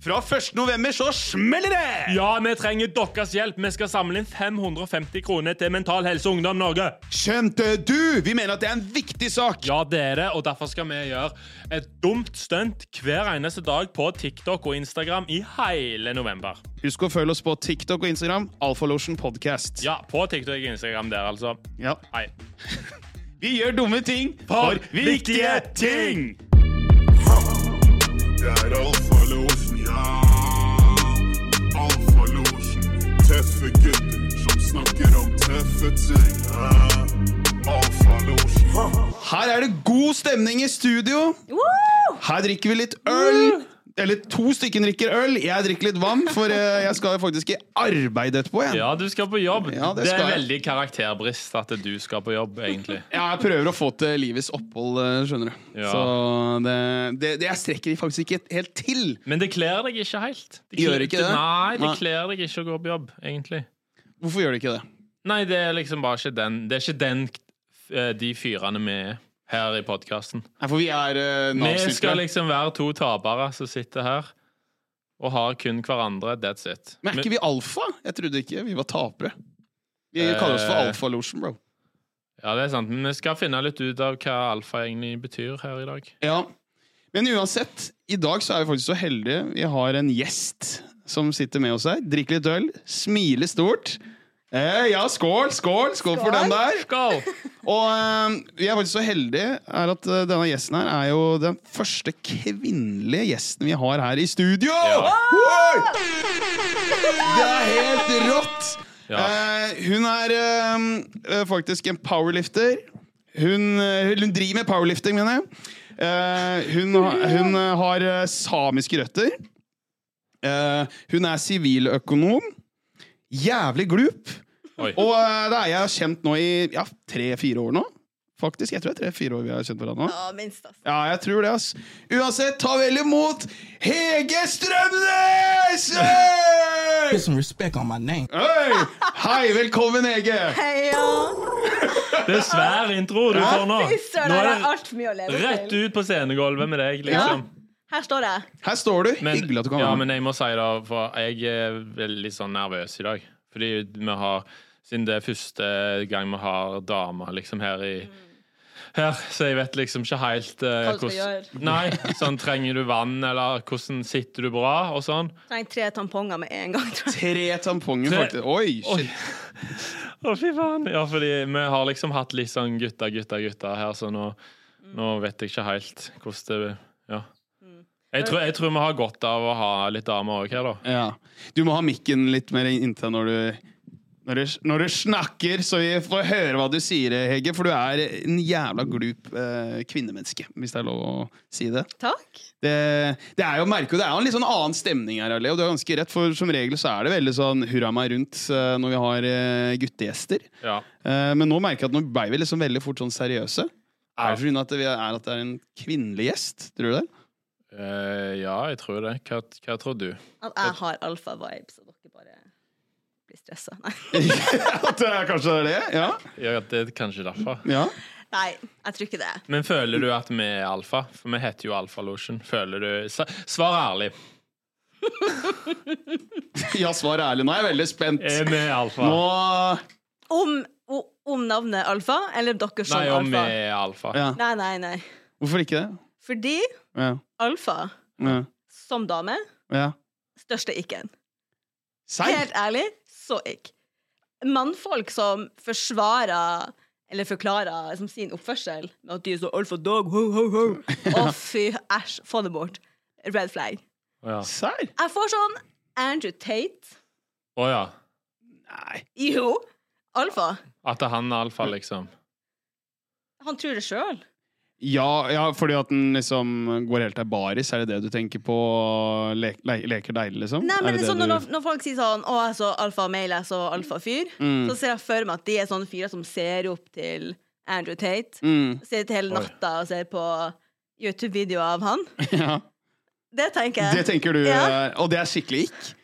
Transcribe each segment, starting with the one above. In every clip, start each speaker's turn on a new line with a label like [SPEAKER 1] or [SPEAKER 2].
[SPEAKER 1] Fra 1. november så smeller det!
[SPEAKER 2] Ja, vi trenger deres hjelp. Vi skal samle inn 550 kroner til Mental Helse Ungdom Norge.
[SPEAKER 1] Skjønte du? Vi mener at det er en viktig sak.
[SPEAKER 2] Ja, det er det, og derfor skal vi gjøre et dumt stunt hver eneste dag på TikTok og Instagram i hele november.
[SPEAKER 1] Husk å følge oss på TikTok og Instagram. Alfalosjen podcast.
[SPEAKER 2] Ja, på TikTok og Instagram der, altså.
[SPEAKER 1] Ja.
[SPEAKER 2] Hei.
[SPEAKER 1] Vi gjør dumme ting for viktige ting!
[SPEAKER 3] Det er alfalåsen, ja. Alfalåsen. Tøffe gutter som snakker om tøffe ting. Ja. Alfalåsen.
[SPEAKER 1] Her er det god stemning i studio.
[SPEAKER 4] Woo!
[SPEAKER 1] Her drikker vi litt øl. Eller to stykker drikker øl. Jeg drikker litt vann, for eh, jeg skal jo faktisk i arbeid etterpå. Jeg.
[SPEAKER 2] Ja, du skal på jobb.
[SPEAKER 1] Ja, det
[SPEAKER 2] det,
[SPEAKER 1] skal
[SPEAKER 2] er
[SPEAKER 1] jeg.
[SPEAKER 2] veldig karakterbrist at du skal på jobb, egentlig.
[SPEAKER 1] Jeg prøver å få til livets opphold, eh, skjønner du.
[SPEAKER 2] Ja.
[SPEAKER 1] Så det, det, det Jeg strekker faktisk ikke helt til.
[SPEAKER 2] Men det kler deg ikke helt. Det
[SPEAKER 1] Gjør
[SPEAKER 2] kler-
[SPEAKER 1] ikke det?
[SPEAKER 2] Nei, det
[SPEAKER 1] Nei.
[SPEAKER 2] kler deg ikke å gå på jobb, egentlig.
[SPEAKER 1] Hvorfor gjør det ikke det?
[SPEAKER 2] Nei, det er liksom bare ikke den Det er ikke den eh, de fyrene vi er her i podkasten.
[SPEAKER 1] Nei, For vi er eh,
[SPEAKER 2] Vi skal
[SPEAKER 1] Nav-snyltere.
[SPEAKER 2] liksom være to tapere som sitter her og har kun hverandre. That's it.
[SPEAKER 1] Men er ikke vi alfa? Jeg trodde ikke vi var tapere. Vi kaller oss for
[SPEAKER 2] Eh.
[SPEAKER 1] Alfalosjen, bro.
[SPEAKER 2] Ja, det er sant. Men vi skal finne litt ut av hva alfa egentlig betyr her i dag.
[SPEAKER 1] Ja. Men uansett, i dag så er vi faktisk så heldige. Vi har en gjest som sitter med oss her. Drikker litt øl, smiler stort. Eh, ja, skål, skål, skål, for den der.
[SPEAKER 2] Skål!
[SPEAKER 1] Og eh, vi er faktisk så heldige er at eh, denne gjesten her er jo den første kvinnelige gjesten vi har her i studio! Wow! Det er helt rått!
[SPEAKER 2] Ja.
[SPEAKER 1] Eh, hun er eh, eh, faktisk en powerlifter. Hun, eh, hun driver med powerlifting, mener jeg. Eh, hun, ha- hun eh, har eh, samiske røtter. Eh, hun er siviløkonom. Jævlig glup.
[SPEAKER 2] Oi.
[SPEAKER 1] Og eh, det er jeg kjent nå i ja, tre-fire år nå. Faktisk, Jeg tror det er tre-fire år vi har kjent hverandre nå.
[SPEAKER 4] Ja, minst, altså.
[SPEAKER 1] Ja, jeg tror det, ass. Uansett, ta vel imot Hege Strømnes! Hey!
[SPEAKER 5] Put some respect on my name.
[SPEAKER 1] Hei! Hei, velkommen, Hege!
[SPEAKER 4] Heia!
[SPEAKER 2] Det er svær intro du får nå.
[SPEAKER 4] Fy søren,
[SPEAKER 2] Nå
[SPEAKER 4] her
[SPEAKER 2] er
[SPEAKER 4] er altfor mye å
[SPEAKER 2] det
[SPEAKER 4] leve
[SPEAKER 2] rett
[SPEAKER 4] til.
[SPEAKER 2] ut på scenegulvet med deg, liksom.
[SPEAKER 4] Her står det.
[SPEAKER 1] Her står du.
[SPEAKER 2] Men,
[SPEAKER 1] Hyggelig at du kan
[SPEAKER 2] ja,
[SPEAKER 1] være med.
[SPEAKER 2] men jeg må si da, for jeg er veldig sånn nervøs i dag. Fordi vi har, siden det er første gang vi har damer liksom her i her, så jeg vet liksom ikke helt eh,
[SPEAKER 4] Mm. Hva du skal gjøre.
[SPEAKER 2] Nei, sånn Trenger du vann, eller hvordan sitter du bra, og sånn.
[SPEAKER 4] Trenger tre tamponger med en gang, tror jeg.
[SPEAKER 1] Tre tamponger,
[SPEAKER 2] Tre-
[SPEAKER 1] faktisk. Oi,
[SPEAKER 2] Oi.
[SPEAKER 1] shit.
[SPEAKER 2] Å, fy faen. Ja, fordi vi har liksom hatt litt sånn gutta, gutta, gutta her, så nå,
[SPEAKER 4] Mm.
[SPEAKER 2] nå vet jeg ikke helt hvordan det Ja. Jeg tror, jeg tror vi har godt av å ha litt damer òg her, da.
[SPEAKER 1] Ja. Du må ha mikken litt mer inntil når du når du, når du snakker, så vi får høre hva du sier, Hege. For du er en jævla glup eh, kvinnemenneske, hvis det er lov å si det.
[SPEAKER 4] Takk.
[SPEAKER 1] Det, det er jo å merke, og det er jo en litt sånn annen stemning her, Ali, og du har ganske rett, for som regel så er det veldig sånn hurra meg rundt eh, når vi har eh, guttegjester.
[SPEAKER 2] Ja.
[SPEAKER 1] Eh, men nå merker jeg at nå ble vi liksom veldig fort sånn seriøse. Er
[SPEAKER 2] Ja.
[SPEAKER 1] det pga. at det er at det er en kvinnelig gjest? Tror du det?
[SPEAKER 2] Eh, ja, jeg tror det. Hva, hva tror du?
[SPEAKER 4] At jeg har alfa-vibes, og dere bare blir stressa. Nei.
[SPEAKER 1] at det er kanskje det? Ja.
[SPEAKER 2] Ja, det er kanskje derfor.
[SPEAKER 1] ja.
[SPEAKER 4] Nei, jeg tror ikke det.
[SPEAKER 2] Men føler du at vi er alfa? For vi heter jo Alfalosjen. Føler du Sa- Svar ærlig.
[SPEAKER 1] Ja, svar ærlig. Nå er jeg veldig spent.
[SPEAKER 2] Er vi alfa?
[SPEAKER 1] Nå
[SPEAKER 4] Om, o- om navnet alfa, eller dere som
[SPEAKER 2] Nei, om vi
[SPEAKER 4] alfa?
[SPEAKER 2] er alfa.
[SPEAKER 1] ja.
[SPEAKER 4] Nei, nei, nei.
[SPEAKER 1] Hvorfor ikke det?
[SPEAKER 4] Fordi
[SPEAKER 1] Ja.
[SPEAKER 4] alfa,
[SPEAKER 1] Ja.
[SPEAKER 4] som dame,
[SPEAKER 1] ja.
[SPEAKER 4] største ikke-en.
[SPEAKER 1] Serr?
[SPEAKER 4] Helt ærlig, så ikke. Mannfolk som forsvarer eller forklarer liksom, sin oppførsel med at de er så alfa dog, ho, ho, ho. Å, fy æsj, få det bort. Red flag.
[SPEAKER 2] Ja.
[SPEAKER 1] Serr?
[SPEAKER 4] Jeg får sånn Andrew Tate.
[SPEAKER 2] Å ja.
[SPEAKER 1] Nei.
[SPEAKER 4] Jo. Alfa.
[SPEAKER 2] At han er alfa, liksom.
[SPEAKER 4] Han tror det sjøl.
[SPEAKER 1] Ja, ja, fordi at den liksom går helt til baris, er det det du tenker på? Le le leker deilig, liksom?
[SPEAKER 4] Nei,
[SPEAKER 1] Er
[SPEAKER 4] men
[SPEAKER 1] det
[SPEAKER 4] liksom,
[SPEAKER 1] det du-
[SPEAKER 4] når, når folk sier sånn Å, jeg er så alfa-male, jeg er så alfa-fyr,
[SPEAKER 1] Mm.
[SPEAKER 4] så ser jeg for meg at de er sånne fyrer som ser opp til Andrew Tate.
[SPEAKER 1] mm.
[SPEAKER 4] Sitter hele
[SPEAKER 2] Oi.
[SPEAKER 4] natta og ser på YouTube-videoer av han.
[SPEAKER 1] ja.
[SPEAKER 4] Det tenker
[SPEAKER 1] Det
[SPEAKER 4] jeg.
[SPEAKER 1] tenker du,
[SPEAKER 4] Ja.
[SPEAKER 1] eh, og det er skikkelig ikk?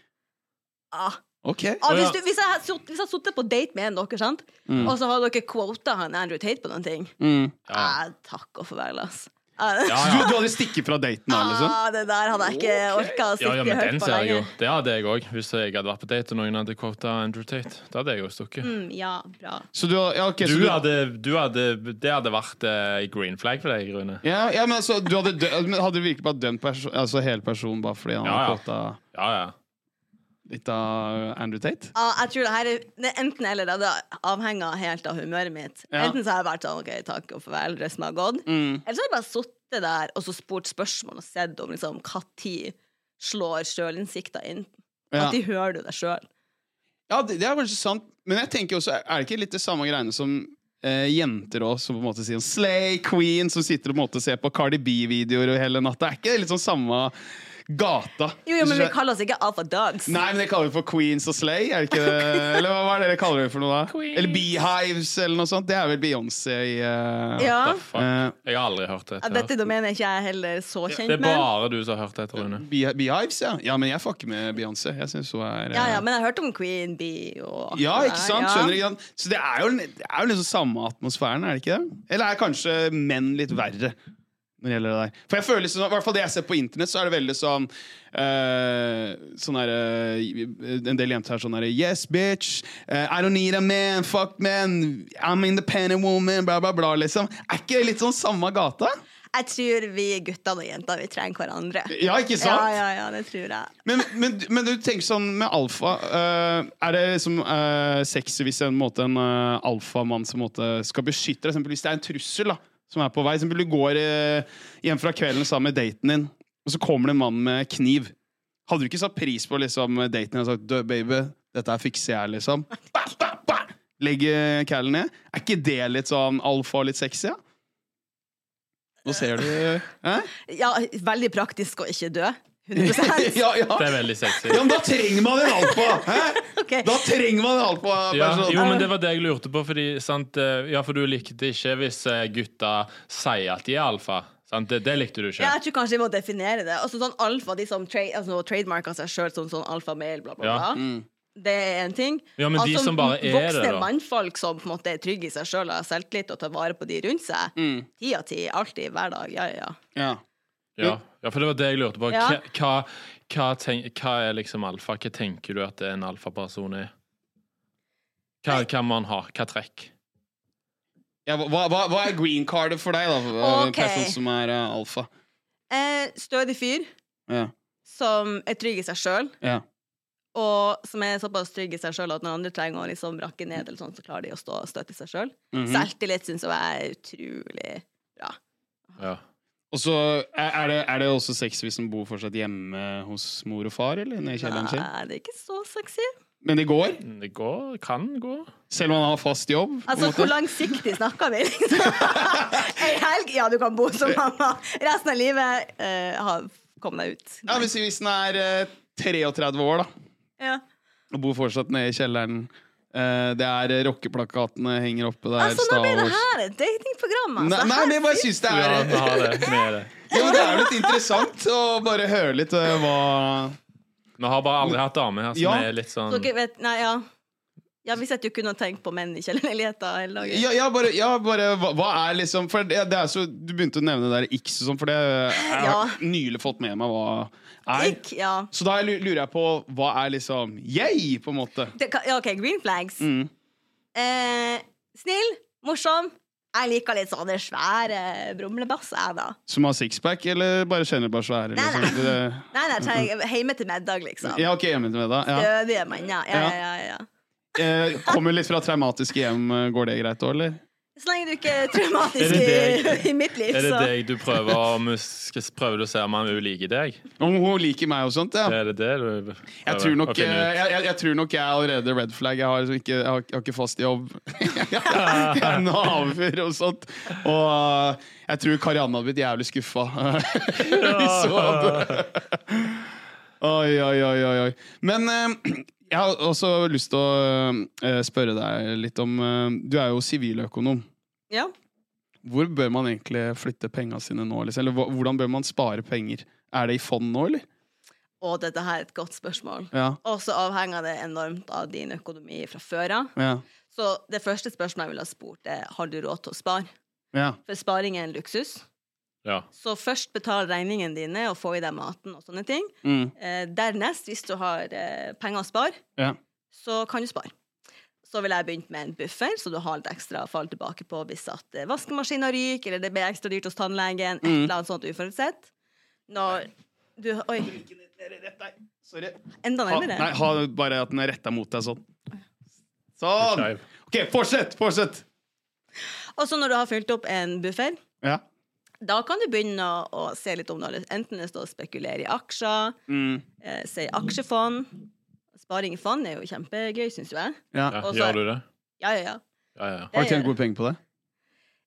[SPEAKER 4] Ah.
[SPEAKER 1] Ok.
[SPEAKER 4] Ah,
[SPEAKER 2] Å, ja.
[SPEAKER 4] hvis, du, hvis jeg hadde sutt- hvis jeg hadde sittet på date med en av dere, sant? og så har dere quota han Andrew Tate på noen ting
[SPEAKER 1] Mm.
[SPEAKER 2] Ja.
[SPEAKER 4] eh, Takk og farvel, ass. Ja,
[SPEAKER 2] Ja,
[SPEAKER 1] Så
[SPEAKER 2] ja.
[SPEAKER 1] Du, du hadde stikket fra daten da, liksom?
[SPEAKER 4] ah, det der hadde jeg ikke orka å sitte
[SPEAKER 2] Ja, ja,
[SPEAKER 4] og
[SPEAKER 2] men
[SPEAKER 4] høre
[SPEAKER 2] den
[SPEAKER 4] på
[SPEAKER 2] ser jeg jo.
[SPEAKER 4] lenge.
[SPEAKER 2] Det hadde jeg òg, hvis jeg hadde vært på date og noen hadde quota Andrew Tate. Da hadde jeg jo stukket.
[SPEAKER 4] Mm, ja, bra.
[SPEAKER 1] Så du, ja, ok,
[SPEAKER 2] Du
[SPEAKER 1] så du,
[SPEAKER 2] hadde, du hadde, det hadde vært eh, green flag for deg, Rune.
[SPEAKER 1] ja, ja, men altså, du hadde, dø, men hadde du virkelig bare dømt perso altså, hele personen bare fordi han
[SPEAKER 2] Ja,
[SPEAKER 1] hadde
[SPEAKER 2] ja.
[SPEAKER 1] fått av
[SPEAKER 2] Ja, ja.
[SPEAKER 1] litt av Andrew Tate?
[SPEAKER 4] Ah, jeg tror det her er det er enten eller. da. Det avhenger helt av humøret mitt.
[SPEAKER 1] Ja. Mm.
[SPEAKER 4] Enten så har jeg vært sånn OK, takk og farvel, resten har gått. Eller så har jeg bare sittet der og så spurt spørsmål og sett om liksom, hva tid slår sjølinnsikta inn.
[SPEAKER 1] Ja.
[SPEAKER 4] At de hører du deg sjøl.
[SPEAKER 1] Ja, det, det er kanskje sant, men jeg tenker også, er det ikke litt det samme greiene som eh, jenter også, som på en måte sier Slay Queen, som sitter og på en måte ser på Cardi B-videoer og hele natta? Er ikke det litt sånn samme gata?
[SPEAKER 4] Jo, jo, men vi
[SPEAKER 1] Hvis du-
[SPEAKER 4] kaller oss ikke Alpha Dogs.
[SPEAKER 1] Nei, men det kaller vi for Queens og Slay, er det ikke det? Eller hva hva er det dere kaller det for noe da? Eller Beehives eller noe sånt? Det er vel Beyoncé i eh,
[SPEAKER 4] Ja.
[SPEAKER 2] Da, fuck.
[SPEAKER 1] eh,
[SPEAKER 2] Jeg har aldri hørt
[SPEAKER 4] Ja,
[SPEAKER 2] dette.
[SPEAKER 4] dette domenet er ikke jeg heller så
[SPEAKER 2] Det
[SPEAKER 4] kjent
[SPEAKER 2] er
[SPEAKER 4] med.
[SPEAKER 2] bare du som har hørt dette, Rune.
[SPEAKER 1] Bee- Beehives, ja. Ja, men jeg fucker med Beyoncé. Jeg syns hun er eh,
[SPEAKER 4] Ja, ja, men jeg har hørt om Queen Bee og
[SPEAKER 1] Ja, ikke sant?
[SPEAKER 4] Ja.
[SPEAKER 1] Skjønner ikke sant? Så det er jo, det er jo liksom samme atmosfæren, er det ikke det? Eller er kanskje menn litt verre når det gjelder det der? For jeg føler sånn, i hvert fall det jeg ser på internett, så er det veldig sånn eh, Sånn der eh, En del jenter er sånn derre Yes, bitch. eh, I don't need a man. Fuck man. I'm independent woman. Bla, bla, bla. Liksom. Er ikke det litt sånn samme gata?
[SPEAKER 4] Jeg tror vi guttene og jentene, vi trenger hverandre.
[SPEAKER 1] Ja, ikke sant?
[SPEAKER 4] Ja, ja, ja, det tror jeg.
[SPEAKER 1] Men, men, men du tenker sånn med alfa eh, Er det liksom eh, sexy hvis en, på en måte, en eh, alfamann som på en måte, skal beskytte deg? For eksempel Hvis det er en trussel da, som er på vei, for eksempel du går eh, hjem fra kvelden sammen med daten din, og så kommer det en mann med kniv. Hadde du ikke satt pris på liksom, daten din og sagt 'Du, baby, dette her fikser jeg', liksom? Ba, ba, ba! Legge callen ned. Er ikke det litt sånn alfa og litt sexy? Ja? Nå ser du Hæ?
[SPEAKER 4] Ja, veldig praktisk å ikke dø. 100
[SPEAKER 1] Ja, ja.
[SPEAKER 2] Det er veldig sexy.
[SPEAKER 1] Ja, men da trenger man en alfa! Hæ?
[SPEAKER 4] Ok.
[SPEAKER 1] Da trenger man en sånn. alfa-person.
[SPEAKER 2] Ja, jo, men det var det jeg lurte på, fordi sant, eh, Ja, for du likte ikke hvis eh, gutta sier at de er alfa. Sant? Det, det likte du ikke.
[SPEAKER 4] Ja, jeg tror kanskje vi må definere det. Altså sånn alfa, De som tra altså, trademarker seg sjøl som sånn alfamail, bla, bla, bla.
[SPEAKER 2] Ja.
[SPEAKER 4] Det er en ting.
[SPEAKER 2] Ja, men de
[SPEAKER 4] altså,
[SPEAKER 2] som bare er det,
[SPEAKER 4] voksne
[SPEAKER 2] da.
[SPEAKER 4] mannfolk som på en måte er trygge i seg sjøl og har selvtillit og tar vare på de rundt seg. Ti av ti, alltid, hver dag. Ja, ja, ja.
[SPEAKER 1] Ja.
[SPEAKER 2] Ja, ja for det var det jeg lurte på.
[SPEAKER 4] Ja.
[SPEAKER 2] Hva, hva, hva, tenk, hva er liksom alfa? Hva tenker du at en alfaperson er? Hva, hva man har? Hva trekk?
[SPEAKER 1] Ja, hva, hva, hva er green cardet for deg, da? for, eh,
[SPEAKER 4] Ok.
[SPEAKER 1] Person som er eh, alfa.
[SPEAKER 4] Eh, stødig fyr
[SPEAKER 1] Ja.
[SPEAKER 4] som er trygg i seg sjøl,
[SPEAKER 1] Ja.
[SPEAKER 4] og som er såpass trygg i seg sjøl at når andre trenger å liksom rakke ned, eller sånn, så klarer de å stå og støtte seg sjøl.
[SPEAKER 1] Mhm.
[SPEAKER 4] Selvtillit syns jeg er utrolig bra.
[SPEAKER 2] Ja.
[SPEAKER 1] Og så er, er, det, er det også sexy hvis den bor fortsatt hjemme hos mor og far? eller nede i kjelleren sin?
[SPEAKER 4] Nei, det er ikke så sexy.
[SPEAKER 1] Men det går,
[SPEAKER 2] Det går, kan gå.
[SPEAKER 1] selv om han har fast jobb? på en
[SPEAKER 4] Altså,
[SPEAKER 1] måte.
[SPEAKER 4] hvor langsiktig snakker vi? liksom? Ei helg, ja, du kan bo som mamma. Resten av livet, eh, ha- kom deg ut.
[SPEAKER 1] Ja, hvis, hvis den er eh, 33 år da,
[SPEAKER 4] Ja.
[SPEAKER 1] og bor fortsatt nede i kjelleren eh, Det er eh, rockeplakatene henger oppe der.
[SPEAKER 4] Altså, nå
[SPEAKER 1] Star
[SPEAKER 4] blir det
[SPEAKER 1] Wars.
[SPEAKER 4] her et datingprogram, altså.
[SPEAKER 1] Nei, nei, men jeg bare syns det
[SPEAKER 2] Ja,
[SPEAKER 1] er
[SPEAKER 2] vi har det. Vi er det.
[SPEAKER 1] Ja, men det er jo litt interessant å bare høre litt eh, hva
[SPEAKER 2] Vi har bare aldri hatt dame her som
[SPEAKER 1] Ja.
[SPEAKER 2] er litt sånn
[SPEAKER 4] Så dere vet, nei, ja. ja, vi sitter jo kun og tenker på menn i kjellerleiligheter hele dagen.
[SPEAKER 1] Ja, ja, bare, ja, bare hva, hva er liksom For det, det er så Du begynte å nevne det der X og sånn, for det jeg
[SPEAKER 4] Ja.
[SPEAKER 1] har nylig fått med meg hva er.
[SPEAKER 4] Ikk, ja.
[SPEAKER 1] Så da lu- lurer jeg på hva er liksom yay, på en måte.
[SPEAKER 4] Det, kan- ja, OK, green flags.
[SPEAKER 1] Mm.
[SPEAKER 4] Eh, snill, morsom. Jeg liker litt sånne svære brumlebass, jeg, da.
[SPEAKER 1] Som har sixpack, eller bare kjenner bare svære?
[SPEAKER 4] Nei,
[SPEAKER 1] Liksom. Det-
[SPEAKER 4] Nei, nei, trenger hjemme til middag, liksom.
[SPEAKER 1] Ja, ok, hjemme til middag. Ja.
[SPEAKER 4] Stødige menn, ja. Ja, ja, ja, ja.
[SPEAKER 1] Eh, kommer litt fra traumatiske hjem, eh, går det greit da, eller?
[SPEAKER 4] Så lenge du ikke er traumatisk
[SPEAKER 2] Er det
[SPEAKER 4] i,
[SPEAKER 2] deg?
[SPEAKER 4] i mitt liv,
[SPEAKER 2] Er det
[SPEAKER 4] så
[SPEAKER 2] deg du prøver å mus- prøver du å se om han liker deg?
[SPEAKER 1] Om hun liker meg og sånt, ja.
[SPEAKER 2] Er det det du prøver
[SPEAKER 1] Jeg tror, nok, eh,
[SPEAKER 2] å
[SPEAKER 1] jeg,
[SPEAKER 2] finne ut?
[SPEAKER 1] jeg, jeg tror nok jeg er allerede red flag. Jeg har, liksom ikke, jeg har, jeg har ikke fast jobb. jeg er naver og sånt. Og eh, jeg tror Karianne hadde blitt jævlig skuffa hvis hun hadde Oi, oi, oi, oi. oi. Men eh, jeg har også lyst til å eh, spørre deg litt om eh, Du er jo siviløkonom.
[SPEAKER 4] ja.
[SPEAKER 1] Hvor bør man egentlig flytte penga sine nå? Liksom? Eller hva- hvordan bør man spare penger? Er det i fond nå, eller?
[SPEAKER 4] Og dette her er et godt spørsmål.
[SPEAKER 1] Ja.
[SPEAKER 4] Og så avhenger det enormt av din økonomi fra før av.
[SPEAKER 1] Ja.
[SPEAKER 4] Så det første spørsmålet jeg ville ha spurt, er har du råd til å spare.
[SPEAKER 1] ja.
[SPEAKER 4] For sparing er en luksus.
[SPEAKER 2] Ja.
[SPEAKER 4] Så først betal regningene dine og få i deg maten og sånne ting.
[SPEAKER 1] Mm.
[SPEAKER 4] Eh, dernest, hvis du har eh, penger å spare,
[SPEAKER 1] Ja.
[SPEAKER 4] så kan du spare. Så ville jeg begynt med en buffer, så du har litt ekstra å falle tilbake på hvis at eh, vaskemaskinen ryker, eller det blir ekstra dyrt hos tannlegen, et
[SPEAKER 1] Mm.
[SPEAKER 4] eller annet sånt uforutsett. Når du Oi,
[SPEAKER 1] Sorry.
[SPEAKER 4] enda
[SPEAKER 1] Ha,
[SPEAKER 4] nærmere.
[SPEAKER 1] nei, ha bare at den er retta mot deg sånn. Sånn!
[SPEAKER 2] Skeiv.
[SPEAKER 1] OK, fortsett! Fortsett!
[SPEAKER 4] Og så når du har fylt opp en buffer,
[SPEAKER 1] Ja.
[SPEAKER 4] da kan du begynne å, å se litt om det. Enten det står å spekulere i aksjer,
[SPEAKER 1] Mm.
[SPEAKER 4] eh, si aksjefond. Sparing i fond er jo kjempegøy, syns jo jeg.
[SPEAKER 1] ja.
[SPEAKER 2] ja.
[SPEAKER 4] Og så-
[SPEAKER 2] Gjør du det?
[SPEAKER 4] Ja, ja, ja.
[SPEAKER 2] Ja, ja.
[SPEAKER 1] Har du tjent gode penger på det?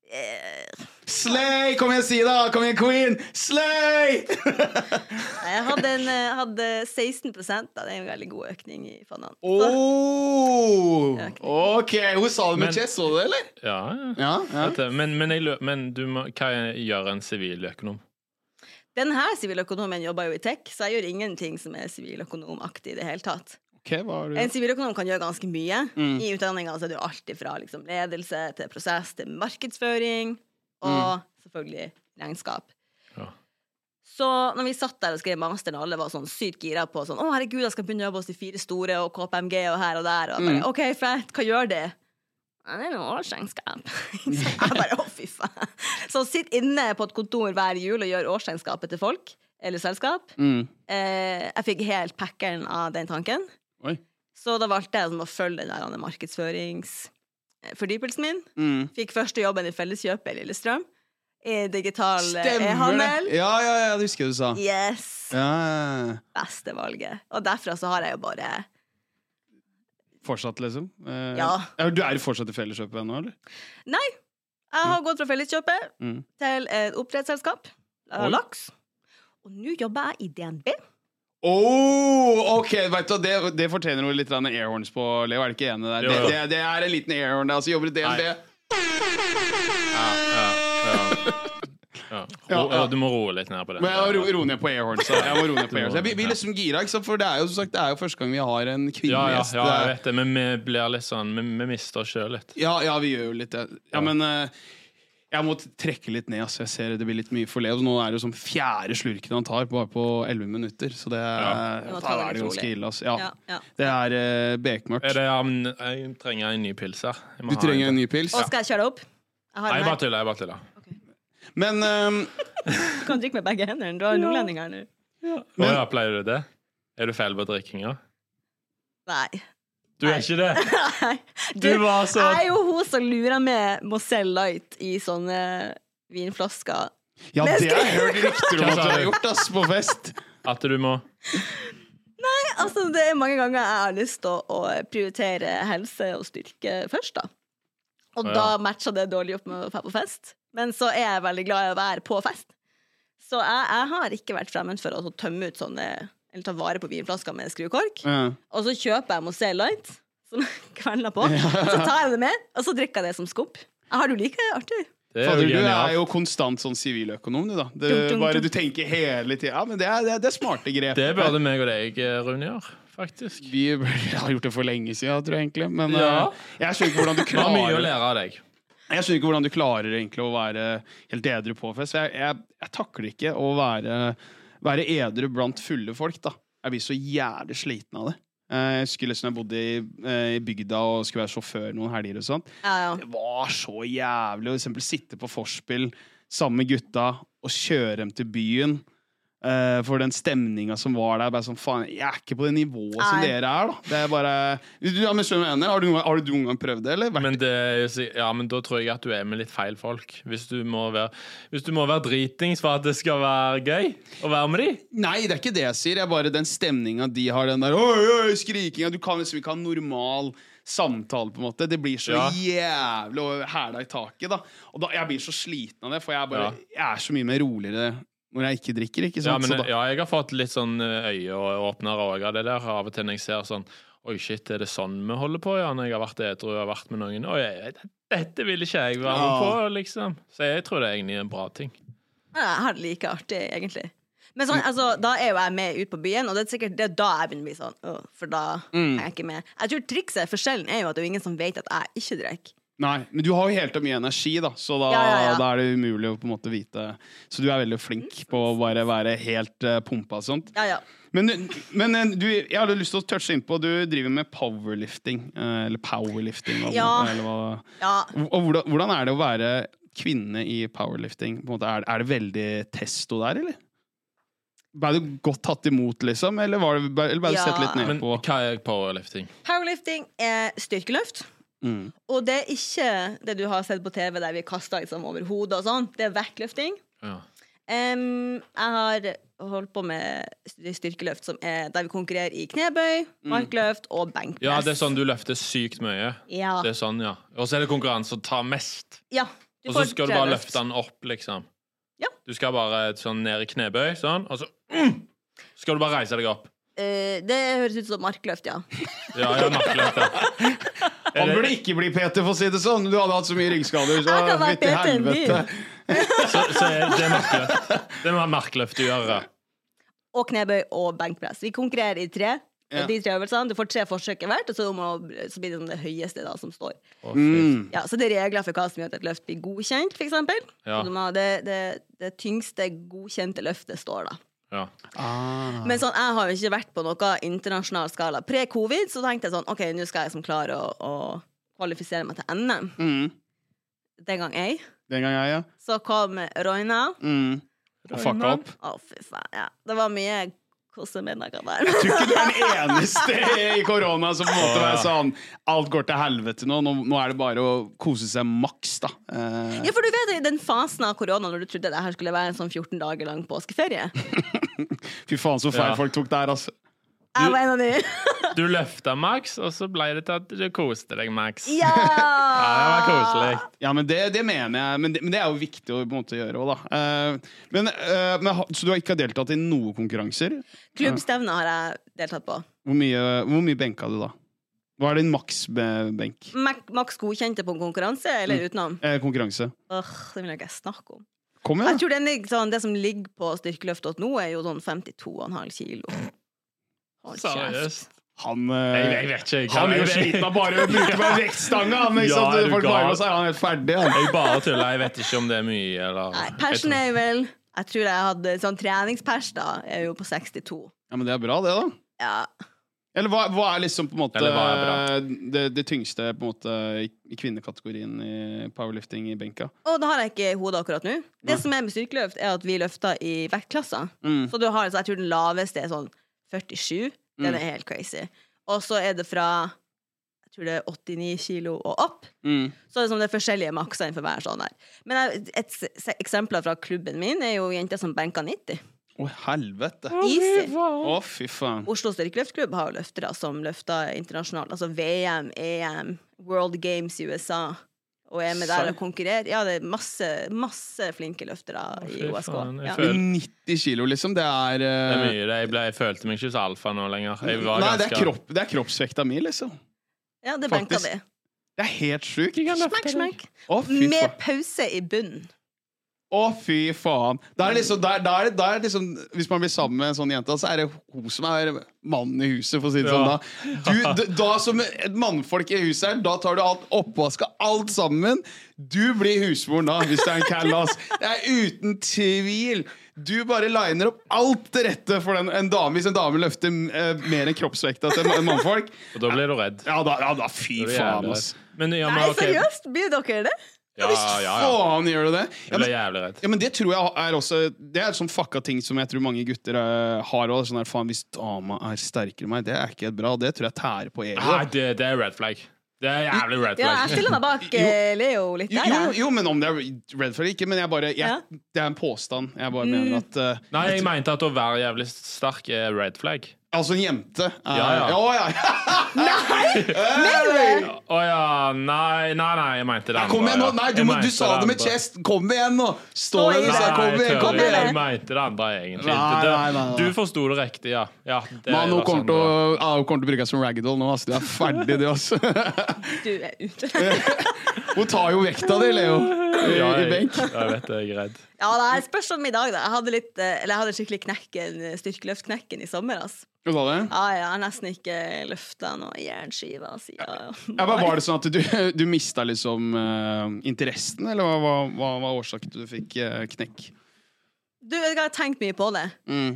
[SPEAKER 4] Eh,
[SPEAKER 1] Slay! Kom igjen, si det! da! Kom igjen, queen! Slay!
[SPEAKER 4] Jeg hadde, en, eh, hadde 16 da. Det er en veldig god økning i fondene. Så-
[SPEAKER 1] Oh,
[SPEAKER 4] Økning.
[SPEAKER 1] OK. Hun sa det
[SPEAKER 2] Men-
[SPEAKER 1] med chess, så du det, eller?
[SPEAKER 2] ja, ja.
[SPEAKER 1] Ja, ja.
[SPEAKER 2] Dette- Men, men, jeg, lø- men du må, hva gjør en siviløkonom?
[SPEAKER 4] Den her siviløkonomen jobber jo i tech, så jeg gjør ingenting som er siviløkonomaktig i det hele tatt.
[SPEAKER 1] Ok, hva har
[SPEAKER 4] En
[SPEAKER 1] du?
[SPEAKER 4] siviløkonom kan gjøre ganske mye.
[SPEAKER 1] Mm.
[SPEAKER 4] I utdanninga er det jo alt fra liksom, ledelse til prosess til markedsføring
[SPEAKER 1] Mm.
[SPEAKER 4] og selvfølgelig regnskap.
[SPEAKER 2] Ja.
[SPEAKER 4] Så når vi satt der og skrev masteren, og alle var sånn sykt gira på sånn, å herregud, jeg skal begynne å jobbe hos de fire store og KPMG og her og der, og jeg bare,
[SPEAKER 1] Mm.
[SPEAKER 4] OK, fett, hva gjør det? «Nei, Det er noe årsregnskap. Så jeg bare, å fy faen. Så sitt inne på et kontor hver jul og gjør årsregnskapet til folk, eller selskap.
[SPEAKER 1] Mm.
[SPEAKER 4] Eh, jeg fikk helt packeren av den tanken.
[SPEAKER 1] Oi.
[SPEAKER 4] Så da valgte jeg sånn å følge den der markedsføringsfordypelsen min.
[SPEAKER 1] Mm.
[SPEAKER 4] Fikk første jobben i Felleskjøpet i Lillestrøm. I digital eh,
[SPEAKER 1] Stemmer det!
[SPEAKER 4] e-handel.
[SPEAKER 1] Ja, ja, ja, det husker jeg du sa.
[SPEAKER 4] Yes!
[SPEAKER 1] Ja, ja, ja.
[SPEAKER 4] Beste valget. Og derfra så har jeg jo bare
[SPEAKER 1] Fortsatt, liksom? Eh,
[SPEAKER 4] Ja.
[SPEAKER 1] Du er fortsatt i Felleskjøpet ennå, eller?
[SPEAKER 4] Nei! Jeg har gått fra Felleskjøpet
[SPEAKER 1] Mm.
[SPEAKER 4] til et oppdrettsselskap.
[SPEAKER 1] Oi.
[SPEAKER 4] Lager laks. Og nå jobber jeg i DNB.
[SPEAKER 1] Oh, ok, vet du, hva, det, det fortjener jo litt grann airhorns på Leo. Er det ikke enig der?
[SPEAKER 2] Jo,
[SPEAKER 1] Det,
[SPEAKER 2] jo.
[SPEAKER 1] det, det er en liten airhorn der. Altså, jobber i
[SPEAKER 2] Nei.
[SPEAKER 1] DNB.
[SPEAKER 2] Ja, ja, ja. Ja. Ro,
[SPEAKER 1] Ja, ja.
[SPEAKER 2] Du må roe litt ned på det.
[SPEAKER 1] Men jeg må ro, ro ned på airhorns. da. Jeg må roe ned på airhorns. Jeg blir- blir
[SPEAKER 2] Ja.
[SPEAKER 1] liksom gira, ikke sant? for det er jo som sagt, det er jo første gang vi har en
[SPEAKER 2] Ja,
[SPEAKER 1] kvinnelig
[SPEAKER 2] ja,
[SPEAKER 1] gjest.
[SPEAKER 2] ja,
[SPEAKER 1] Det
[SPEAKER 2] jeg
[SPEAKER 1] er-
[SPEAKER 2] vet det, men vi blir litt sånn Vi, vi mister oss sjøl litt.
[SPEAKER 1] eh, Ja, ja, vi gjør jo litt det. Ja,
[SPEAKER 2] Ja.
[SPEAKER 1] men eh, jeg må t- trekke litt ned. Altså. Jeg ser det blir litt mye for Leo. Nå er det jo som fjerde slurken han tar, bare på elleve minutter. Så det er,
[SPEAKER 2] Ja.
[SPEAKER 4] Du
[SPEAKER 1] faen,
[SPEAKER 4] må ta det
[SPEAKER 1] er det
[SPEAKER 4] litt
[SPEAKER 1] ganske
[SPEAKER 4] rolig.
[SPEAKER 1] ille. Altså. Ja.
[SPEAKER 4] Ja, ja.
[SPEAKER 1] Det er eh, bekmørkt.
[SPEAKER 2] Er det, ja, men eh, jeg trenger en ny pils her. Jeg må
[SPEAKER 1] Du
[SPEAKER 2] ha
[SPEAKER 1] trenger en ny pils.
[SPEAKER 4] Og skal jeg kjøre deg opp? Jeg har
[SPEAKER 2] Nei,
[SPEAKER 4] en
[SPEAKER 2] jeg
[SPEAKER 4] her.
[SPEAKER 2] bare tuller. Jeg bare tuller.
[SPEAKER 1] Men ehm,
[SPEAKER 4] Du kan drikke med begge hendene. Du har nordlending her nå.
[SPEAKER 2] Å ja, pleier du det? Er du feil på drikkinga?
[SPEAKER 4] Nei.
[SPEAKER 2] Du er ikke det!
[SPEAKER 4] Du,
[SPEAKER 2] Du var så
[SPEAKER 4] Jeg er jo hun som lurer med Mozell Light i sånne vinflasker.
[SPEAKER 1] ja,
[SPEAKER 4] Men
[SPEAKER 1] det
[SPEAKER 4] skal-
[SPEAKER 1] har jeg hørt rykter om
[SPEAKER 2] Hva
[SPEAKER 1] at
[SPEAKER 2] sa
[SPEAKER 1] du har
[SPEAKER 2] du?
[SPEAKER 1] gjort ass, på fest.
[SPEAKER 2] At du må
[SPEAKER 4] Altså, det er mange ganger jeg har lyst til å, å prioritere helse og styrke først, da. Og
[SPEAKER 2] Å, ja.
[SPEAKER 4] da matcher det dårlig opp med å dra på fest. Men så er jeg veldig glad i å være på fest. Så jeg, jeg har ikke vært fremmed for å tømme ut sånne eller ta vare på vinflasker med skrukork.
[SPEAKER 1] Ja.
[SPEAKER 4] Og så kjøper jeg Mozell Light, som jeg kveller på. Så tar jeg det med, og så drikker jeg det som skump. Jeg har du like det, Arthur?
[SPEAKER 2] Det er
[SPEAKER 1] Fader,
[SPEAKER 2] jo
[SPEAKER 1] du er
[SPEAKER 2] genialt.
[SPEAKER 1] jo konstant sånn siviløkonom, du, da. Du,
[SPEAKER 4] Dum, dum,
[SPEAKER 1] bare
[SPEAKER 4] dum.
[SPEAKER 1] du tenker hele tida. Ja, men det er, det er, det er smarte grep.
[SPEAKER 2] Det burde meg og deg, eh, Rune, gjøre, faktisk.
[SPEAKER 1] Vi burde ha gjort det for lenge siden, tror jeg egentlig. Men
[SPEAKER 2] Ja.
[SPEAKER 1] eh, jeg skjønner ikke hvordan du
[SPEAKER 2] Vi har mye
[SPEAKER 1] klarer
[SPEAKER 2] å lære av deg.
[SPEAKER 1] Jeg skjønner ikke hvordan du klarer egentlig å være helt edru på fest. Jeg, jeg, jeg takler ikke å være, være edru blant fulle folk. da. Jeg blir så jævlig sliten av det. Eh, Jeg husker liksom jeg bodde i, eh, i bygda og skulle være sjåfør noen helger. og sånn. sånt.
[SPEAKER 4] Ja, ja.
[SPEAKER 1] Det var så jævlig å for eksempel sitte på forspill sammen med gutta og kjøre dem til byen. Eh, for den stemninga som var der. Bare sånn, faen, Jeg er ikke på det nivået som
[SPEAKER 4] Nei.
[SPEAKER 1] dere er. da. Det er bare... Du, ja, men skjønner du hva jeg mener? Har du, noen gang- har du noen gang prøvd det? eller? Vært-
[SPEAKER 2] Men, det, er jo si- ja, men da tror jeg at du er med litt feil folk. Hvis du må være, hvis du må være dritings for at det skal være gøy å være med de.
[SPEAKER 1] Nei, det er ikke det jeg sier. Det er bare den stemninga de har. Den der oi, oi, skrikinga. Du kan liksom ikke ha en normal samtale, på en måte. Det blir så
[SPEAKER 2] Ja.
[SPEAKER 1] jævlig å hæla i taket, da. Og da, jeg blir så sliten av det, for jeg, er bare,
[SPEAKER 2] Ja.
[SPEAKER 1] jeg er så mye mer roligere når jeg ikke drikker, ikke
[SPEAKER 2] Ja,
[SPEAKER 1] sant?
[SPEAKER 2] men,
[SPEAKER 1] så da,
[SPEAKER 2] ja, jeg har fått litt sånn eh, øyeåpnere òg av det der. Av og til når jeg ser sånn Oi, shit, er det sånn vi holder på, ja? Når jeg har vært edru og vært med noen. Oi, jeg- dette vil ikke jeg være med på, liksom. Så jeg tror det er egentlig en bra ting.
[SPEAKER 4] Ja, Jeg har det like artig, egentlig. Men
[SPEAKER 2] Mm.
[SPEAKER 4] sånn, altså, da er jo jeg med ut på byen, og det er sikkert det er da jeg begynner å bli
[SPEAKER 2] Mm.
[SPEAKER 4] sånn. «Åh», for da er jeg ikke med. Jeg tror trikset, forskjellen, er jo at det er jo ingen som vet at jeg ikke drikker.
[SPEAKER 1] Nei, men du har jo helt og mye energi, da, så da,
[SPEAKER 4] Ja, ja, ja.
[SPEAKER 1] da er det umulig å på en måte vite Så du er veldig flink på å bare være helt eh, pumpa og sånt.
[SPEAKER 4] Ja, ja.
[SPEAKER 1] Men, men eh, du, jeg hadde lyst til å touche innpå Du driver med powerlifting. eh, Eller powerlifting. hva det-
[SPEAKER 4] Ja.
[SPEAKER 1] Eller hva,
[SPEAKER 4] ja.
[SPEAKER 1] og hvordan, hvordan er det å være kvinne i powerlifting? På en måte, er, er det veldig testo der, eller? Ble du godt tatt imot, liksom? Eller, var det, eller ble du
[SPEAKER 4] Ja.
[SPEAKER 1] sett litt ned
[SPEAKER 2] Men
[SPEAKER 1] på?
[SPEAKER 2] hva er powerlifting?
[SPEAKER 4] Powerlifting er styrkeløft.
[SPEAKER 1] Mm.
[SPEAKER 4] Og det er ikke det du har sett på TV der vi kaster liksom over hodet og sånn. Det er vektløfting.
[SPEAKER 2] Ja.
[SPEAKER 4] Em, jeg har holdt på med styr- styrkeløft som er der vi konkurrerer i knebøy, markløft og benkpress.
[SPEAKER 2] Mm. ja, det er sånn du løfter sykt mye.
[SPEAKER 4] Ja.
[SPEAKER 2] Det er sånn, ja. Og så er det konkurranse å ta mest.
[SPEAKER 4] ja
[SPEAKER 2] Og så
[SPEAKER 4] får
[SPEAKER 2] skal du
[SPEAKER 4] tre
[SPEAKER 2] bare
[SPEAKER 4] løft.
[SPEAKER 2] løfte den opp, liksom.
[SPEAKER 4] Ja.
[SPEAKER 2] Du skal bare sånn ned i knebøy, sånn, og så mm, skal du bare reise deg opp.
[SPEAKER 4] Eh, det høres ut som markløft, ja.
[SPEAKER 2] Ja, ja, nakkeløft, ja.
[SPEAKER 1] Han burde ikke bli PT, for å si det sånn! Du hadde hatt så mye ryggskader. Så,
[SPEAKER 4] Jeg kan være
[SPEAKER 1] fytti
[SPEAKER 4] PT en
[SPEAKER 1] helvete.
[SPEAKER 4] by.
[SPEAKER 2] Så, så er det er nakkeløft. Det må være nakkeløft du gjør. ja.
[SPEAKER 4] Og knebøy og benkpress. Vi konkurrerer i tre.
[SPEAKER 1] Ja.
[SPEAKER 4] De tre øvelsene, Du får tre forsøk i hvert, og så, må, så blir det sånn det høyeste da som står.
[SPEAKER 2] Å, fy.
[SPEAKER 1] Mm.
[SPEAKER 4] Ja, så det er regler for hva som gjør at et løft blir godkjent, f.eks.
[SPEAKER 2] Ja.
[SPEAKER 4] Det, det, det tyngste godkjente løftet står, da.
[SPEAKER 2] Ja.
[SPEAKER 1] Ah.
[SPEAKER 4] Men sånn, jeg har jo ikke vært på noe internasjonal skala. Pre-covid så tenkte jeg sånn OK, nå skal jeg som klare å, å kvalifisere meg til NM.
[SPEAKER 1] Mm.
[SPEAKER 4] Den gang jeg.
[SPEAKER 1] Den gang jeg, ja.
[SPEAKER 4] Så kom Roina.
[SPEAKER 1] Mm. Og fucka opp.
[SPEAKER 4] Å, fy faen. Ja. Det var mye kosemiddager der.
[SPEAKER 1] Tror ikke du er den eneste i korona som på en måte
[SPEAKER 2] Å, ja.
[SPEAKER 1] er sånn Alt går til helvete nå. Nå, nå er det bare å kose seg maks, da. Eh,
[SPEAKER 4] Ja, for du vet i den fasen av korona når du trodde det her skulle være en sånn 14 dager lang påskeferie.
[SPEAKER 1] Fy faen, så feil
[SPEAKER 2] Ja.
[SPEAKER 1] folk tok der, altså.
[SPEAKER 4] Jeg var en av de.
[SPEAKER 2] Du løfta Max, og så ble det til at du koste deg, Max.
[SPEAKER 4] Ja!
[SPEAKER 2] Ja, det var koselig.
[SPEAKER 1] Ja, men det, det mener jeg. Men det, men det er jo viktig å på en måte gjøre òg, da. Eh, men, eh, men, ha- så du har ikke deltatt i noen konkurranser?
[SPEAKER 4] Klubbstevne har jeg deltatt på.
[SPEAKER 1] Hvor mye, hvor mye benka du da? Hva er din maks-benk?
[SPEAKER 4] Mac- Max godkjente på en konkurranse, eller
[SPEAKER 2] Mm.
[SPEAKER 4] utenom?
[SPEAKER 1] Eh, konkurranse.
[SPEAKER 4] Åh, det vil jeg ikke snakke om.
[SPEAKER 1] Kom
[SPEAKER 4] Jeg
[SPEAKER 1] igjen, da.
[SPEAKER 4] tror den, ligger sånn, Det som ligger på styrkeløft.no, er jo sånn 52,5 kilo. Hold kjeft.
[SPEAKER 2] Seriøst.
[SPEAKER 1] Han eh,
[SPEAKER 2] Jeg, jeg vet ikke. Jeg,
[SPEAKER 1] Han blir jo
[SPEAKER 2] jeg,
[SPEAKER 1] sliten av bare å bruke meg vektstanga! Han, ikke
[SPEAKER 2] Ja,
[SPEAKER 1] sant?
[SPEAKER 2] er du
[SPEAKER 1] Folk bare,
[SPEAKER 2] gal?
[SPEAKER 1] så er han helt ferdig, han.
[SPEAKER 2] jeg bare tuller. Jeg vet ikke om det er mye, eller
[SPEAKER 4] Nei,
[SPEAKER 2] Jeg tror-
[SPEAKER 4] persen er vel Jeg tror jeg hadde sånn treningspers, da, er jo på 62.
[SPEAKER 1] Ja, men det er bra, det, da.
[SPEAKER 4] Ja.
[SPEAKER 1] Eller hva, hva er liksom på en måte
[SPEAKER 2] Eller hva er
[SPEAKER 1] det, det tyngste på en måte i i kvinnekategorien i powerlifting i benka?
[SPEAKER 4] Og det har jeg ikke i hodet akkurat nå. Det som er med styrkeløft, er at vi løfter i vektklasser.
[SPEAKER 1] Mm.
[SPEAKER 4] Så du har altså, jeg tror den laveste er sånn 47. Den er helt crazy. Og så er det fra jeg tror det er 89 kilo og opp.
[SPEAKER 1] Mm.
[SPEAKER 4] Så det er, sånn, det er forskjellige makser innenfor hver sånn der. Men jeg- et s- s- eksempler fra klubben min er jo jenter som benker 90.
[SPEAKER 1] Å, helvete! Å,
[SPEAKER 4] Easy.
[SPEAKER 1] fy faen.
[SPEAKER 4] Oslo styrkeløftklubb har jo løftere som løfter internasjonalt. Altså VM, EM, World Games i USA. Og er med der og konkurrerer. Ja, det er masse, masse flinke løftere
[SPEAKER 2] Å,
[SPEAKER 4] i
[SPEAKER 2] fy
[SPEAKER 4] OSK.
[SPEAKER 2] faen, jeg
[SPEAKER 4] Ja.
[SPEAKER 2] føler-
[SPEAKER 1] 90 kilo, liksom. Det er,
[SPEAKER 2] Det er
[SPEAKER 1] eh,
[SPEAKER 2] mye. Det- Jeg, ble, jeg følte meg ikke så alfa nå lenger. Jeg var
[SPEAKER 1] Nei, det
[SPEAKER 2] ganske...
[SPEAKER 1] er, kropp, det er kroppsvekta mi, liksom.
[SPEAKER 4] ja, det benker
[SPEAKER 1] Faktisk.
[SPEAKER 4] de.
[SPEAKER 1] Det er helt sjukt.
[SPEAKER 4] Smakk, smakk.
[SPEAKER 1] Å, fy faen.
[SPEAKER 4] Med pause i bunnen.
[SPEAKER 1] Å, fy faen. Da er liksom, der, der, der liksom, hvis man blir sammen med en sånn jente, så er det hun som er mannen i huset, for å si det
[SPEAKER 2] Ja.
[SPEAKER 1] sånn. Da. Du, d- da som et mannfolk i huset her, da tar du alt oppvaska, alt sammen. Du blir husmoren da, hvis det er en callas. Det er uten tvil. Du bare liner opp alt det rette for den, en dame hvis en dame løfter eh, mer enn kroppsvekta til en mannfolk.
[SPEAKER 2] Og da blir du redd.
[SPEAKER 1] Ja da, ja, da fy
[SPEAKER 2] Det blir
[SPEAKER 1] faen,
[SPEAKER 2] jævlig
[SPEAKER 1] ass.
[SPEAKER 2] redd. Men, ja, men,
[SPEAKER 4] Nei,
[SPEAKER 2] ok.
[SPEAKER 4] seriøst? Blir dere det?
[SPEAKER 2] Ja, ja, ja.
[SPEAKER 1] Faen, gjør du det? Ja,
[SPEAKER 2] Jeg
[SPEAKER 1] men,
[SPEAKER 2] ble jævlig redd.
[SPEAKER 1] Ja, men Det tror jeg er også Det er et sånn fucka ting som jeg tror mange gutter eh, har òg. Sånn der, faen, hvis dama er sterkere enn meg, det er ikke helt bra. Det tror jeg tærer på
[SPEAKER 2] Nei,
[SPEAKER 1] egoet.
[SPEAKER 2] det, det er red flag. Det er jævlig red
[SPEAKER 4] Ja, jeg
[SPEAKER 2] flag.
[SPEAKER 4] stiller meg bak eh, Leo litt
[SPEAKER 1] Jo,
[SPEAKER 4] der.
[SPEAKER 1] jo,
[SPEAKER 4] jeg.
[SPEAKER 1] jo, men om det er red flag eller ikke. Men jeg bare, jeg,
[SPEAKER 4] Ja.
[SPEAKER 1] det er en påstand. Jeg bare mener at eh,
[SPEAKER 2] Nei, jeg mente at å være jævlig sterk er red flag.
[SPEAKER 1] Altså, en jente er
[SPEAKER 2] Ja, ja.
[SPEAKER 1] Å, ja.
[SPEAKER 4] Mener du det?
[SPEAKER 2] Å ja, nei, nei, nei, jeg mente det andre.
[SPEAKER 1] Kom igjen, nå!
[SPEAKER 2] ja.
[SPEAKER 1] Nei, du,
[SPEAKER 2] Jeg
[SPEAKER 1] må, du
[SPEAKER 2] mente
[SPEAKER 1] sa det med
[SPEAKER 2] andre.
[SPEAKER 1] chest! Kom igjen, nå! Stå i det,
[SPEAKER 4] Nei,
[SPEAKER 1] du sa. Kom
[SPEAKER 2] jeg
[SPEAKER 1] igjen! kom
[SPEAKER 2] tør
[SPEAKER 4] tøller.
[SPEAKER 1] igjen.
[SPEAKER 2] ikke. Jeg mente det andre, egentlig.
[SPEAKER 1] Nei,
[SPEAKER 2] Det-
[SPEAKER 1] nei, nei, nei.
[SPEAKER 2] Du forsto det riktig, ja. ja det
[SPEAKER 1] Mann, hun
[SPEAKER 2] var
[SPEAKER 1] kommer
[SPEAKER 2] sånn
[SPEAKER 1] til
[SPEAKER 2] det var.
[SPEAKER 1] å ja, hun kommer til å bruke deg som ragdoll nå. Altså. Du er ferdig, du, altså.
[SPEAKER 4] Du er ute.
[SPEAKER 1] Hun tar jo vekta di, Leo. i,
[SPEAKER 2] Ja,
[SPEAKER 1] i
[SPEAKER 2] jeg,
[SPEAKER 1] benk.
[SPEAKER 2] jeg vet det, jeg er redd.
[SPEAKER 4] Ja, det er spørs om i dag, da. Jeg hadde, litt, eh, eller jeg hadde skikkelig knekken, eh, styrkeløftknekken i sommer. ass.
[SPEAKER 1] Hva sa du?
[SPEAKER 4] Ja, ja, jeg har nesten ikke løfta noe jernskive siden
[SPEAKER 1] Ja, men var det sånn at du, du mista liksom eh, interessen, eller hva, hva, hva var årsaken til at du fikk eh, knekk?
[SPEAKER 4] Du vet hva, jeg har tenkt mye på det.
[SPEAKER 1] Mm.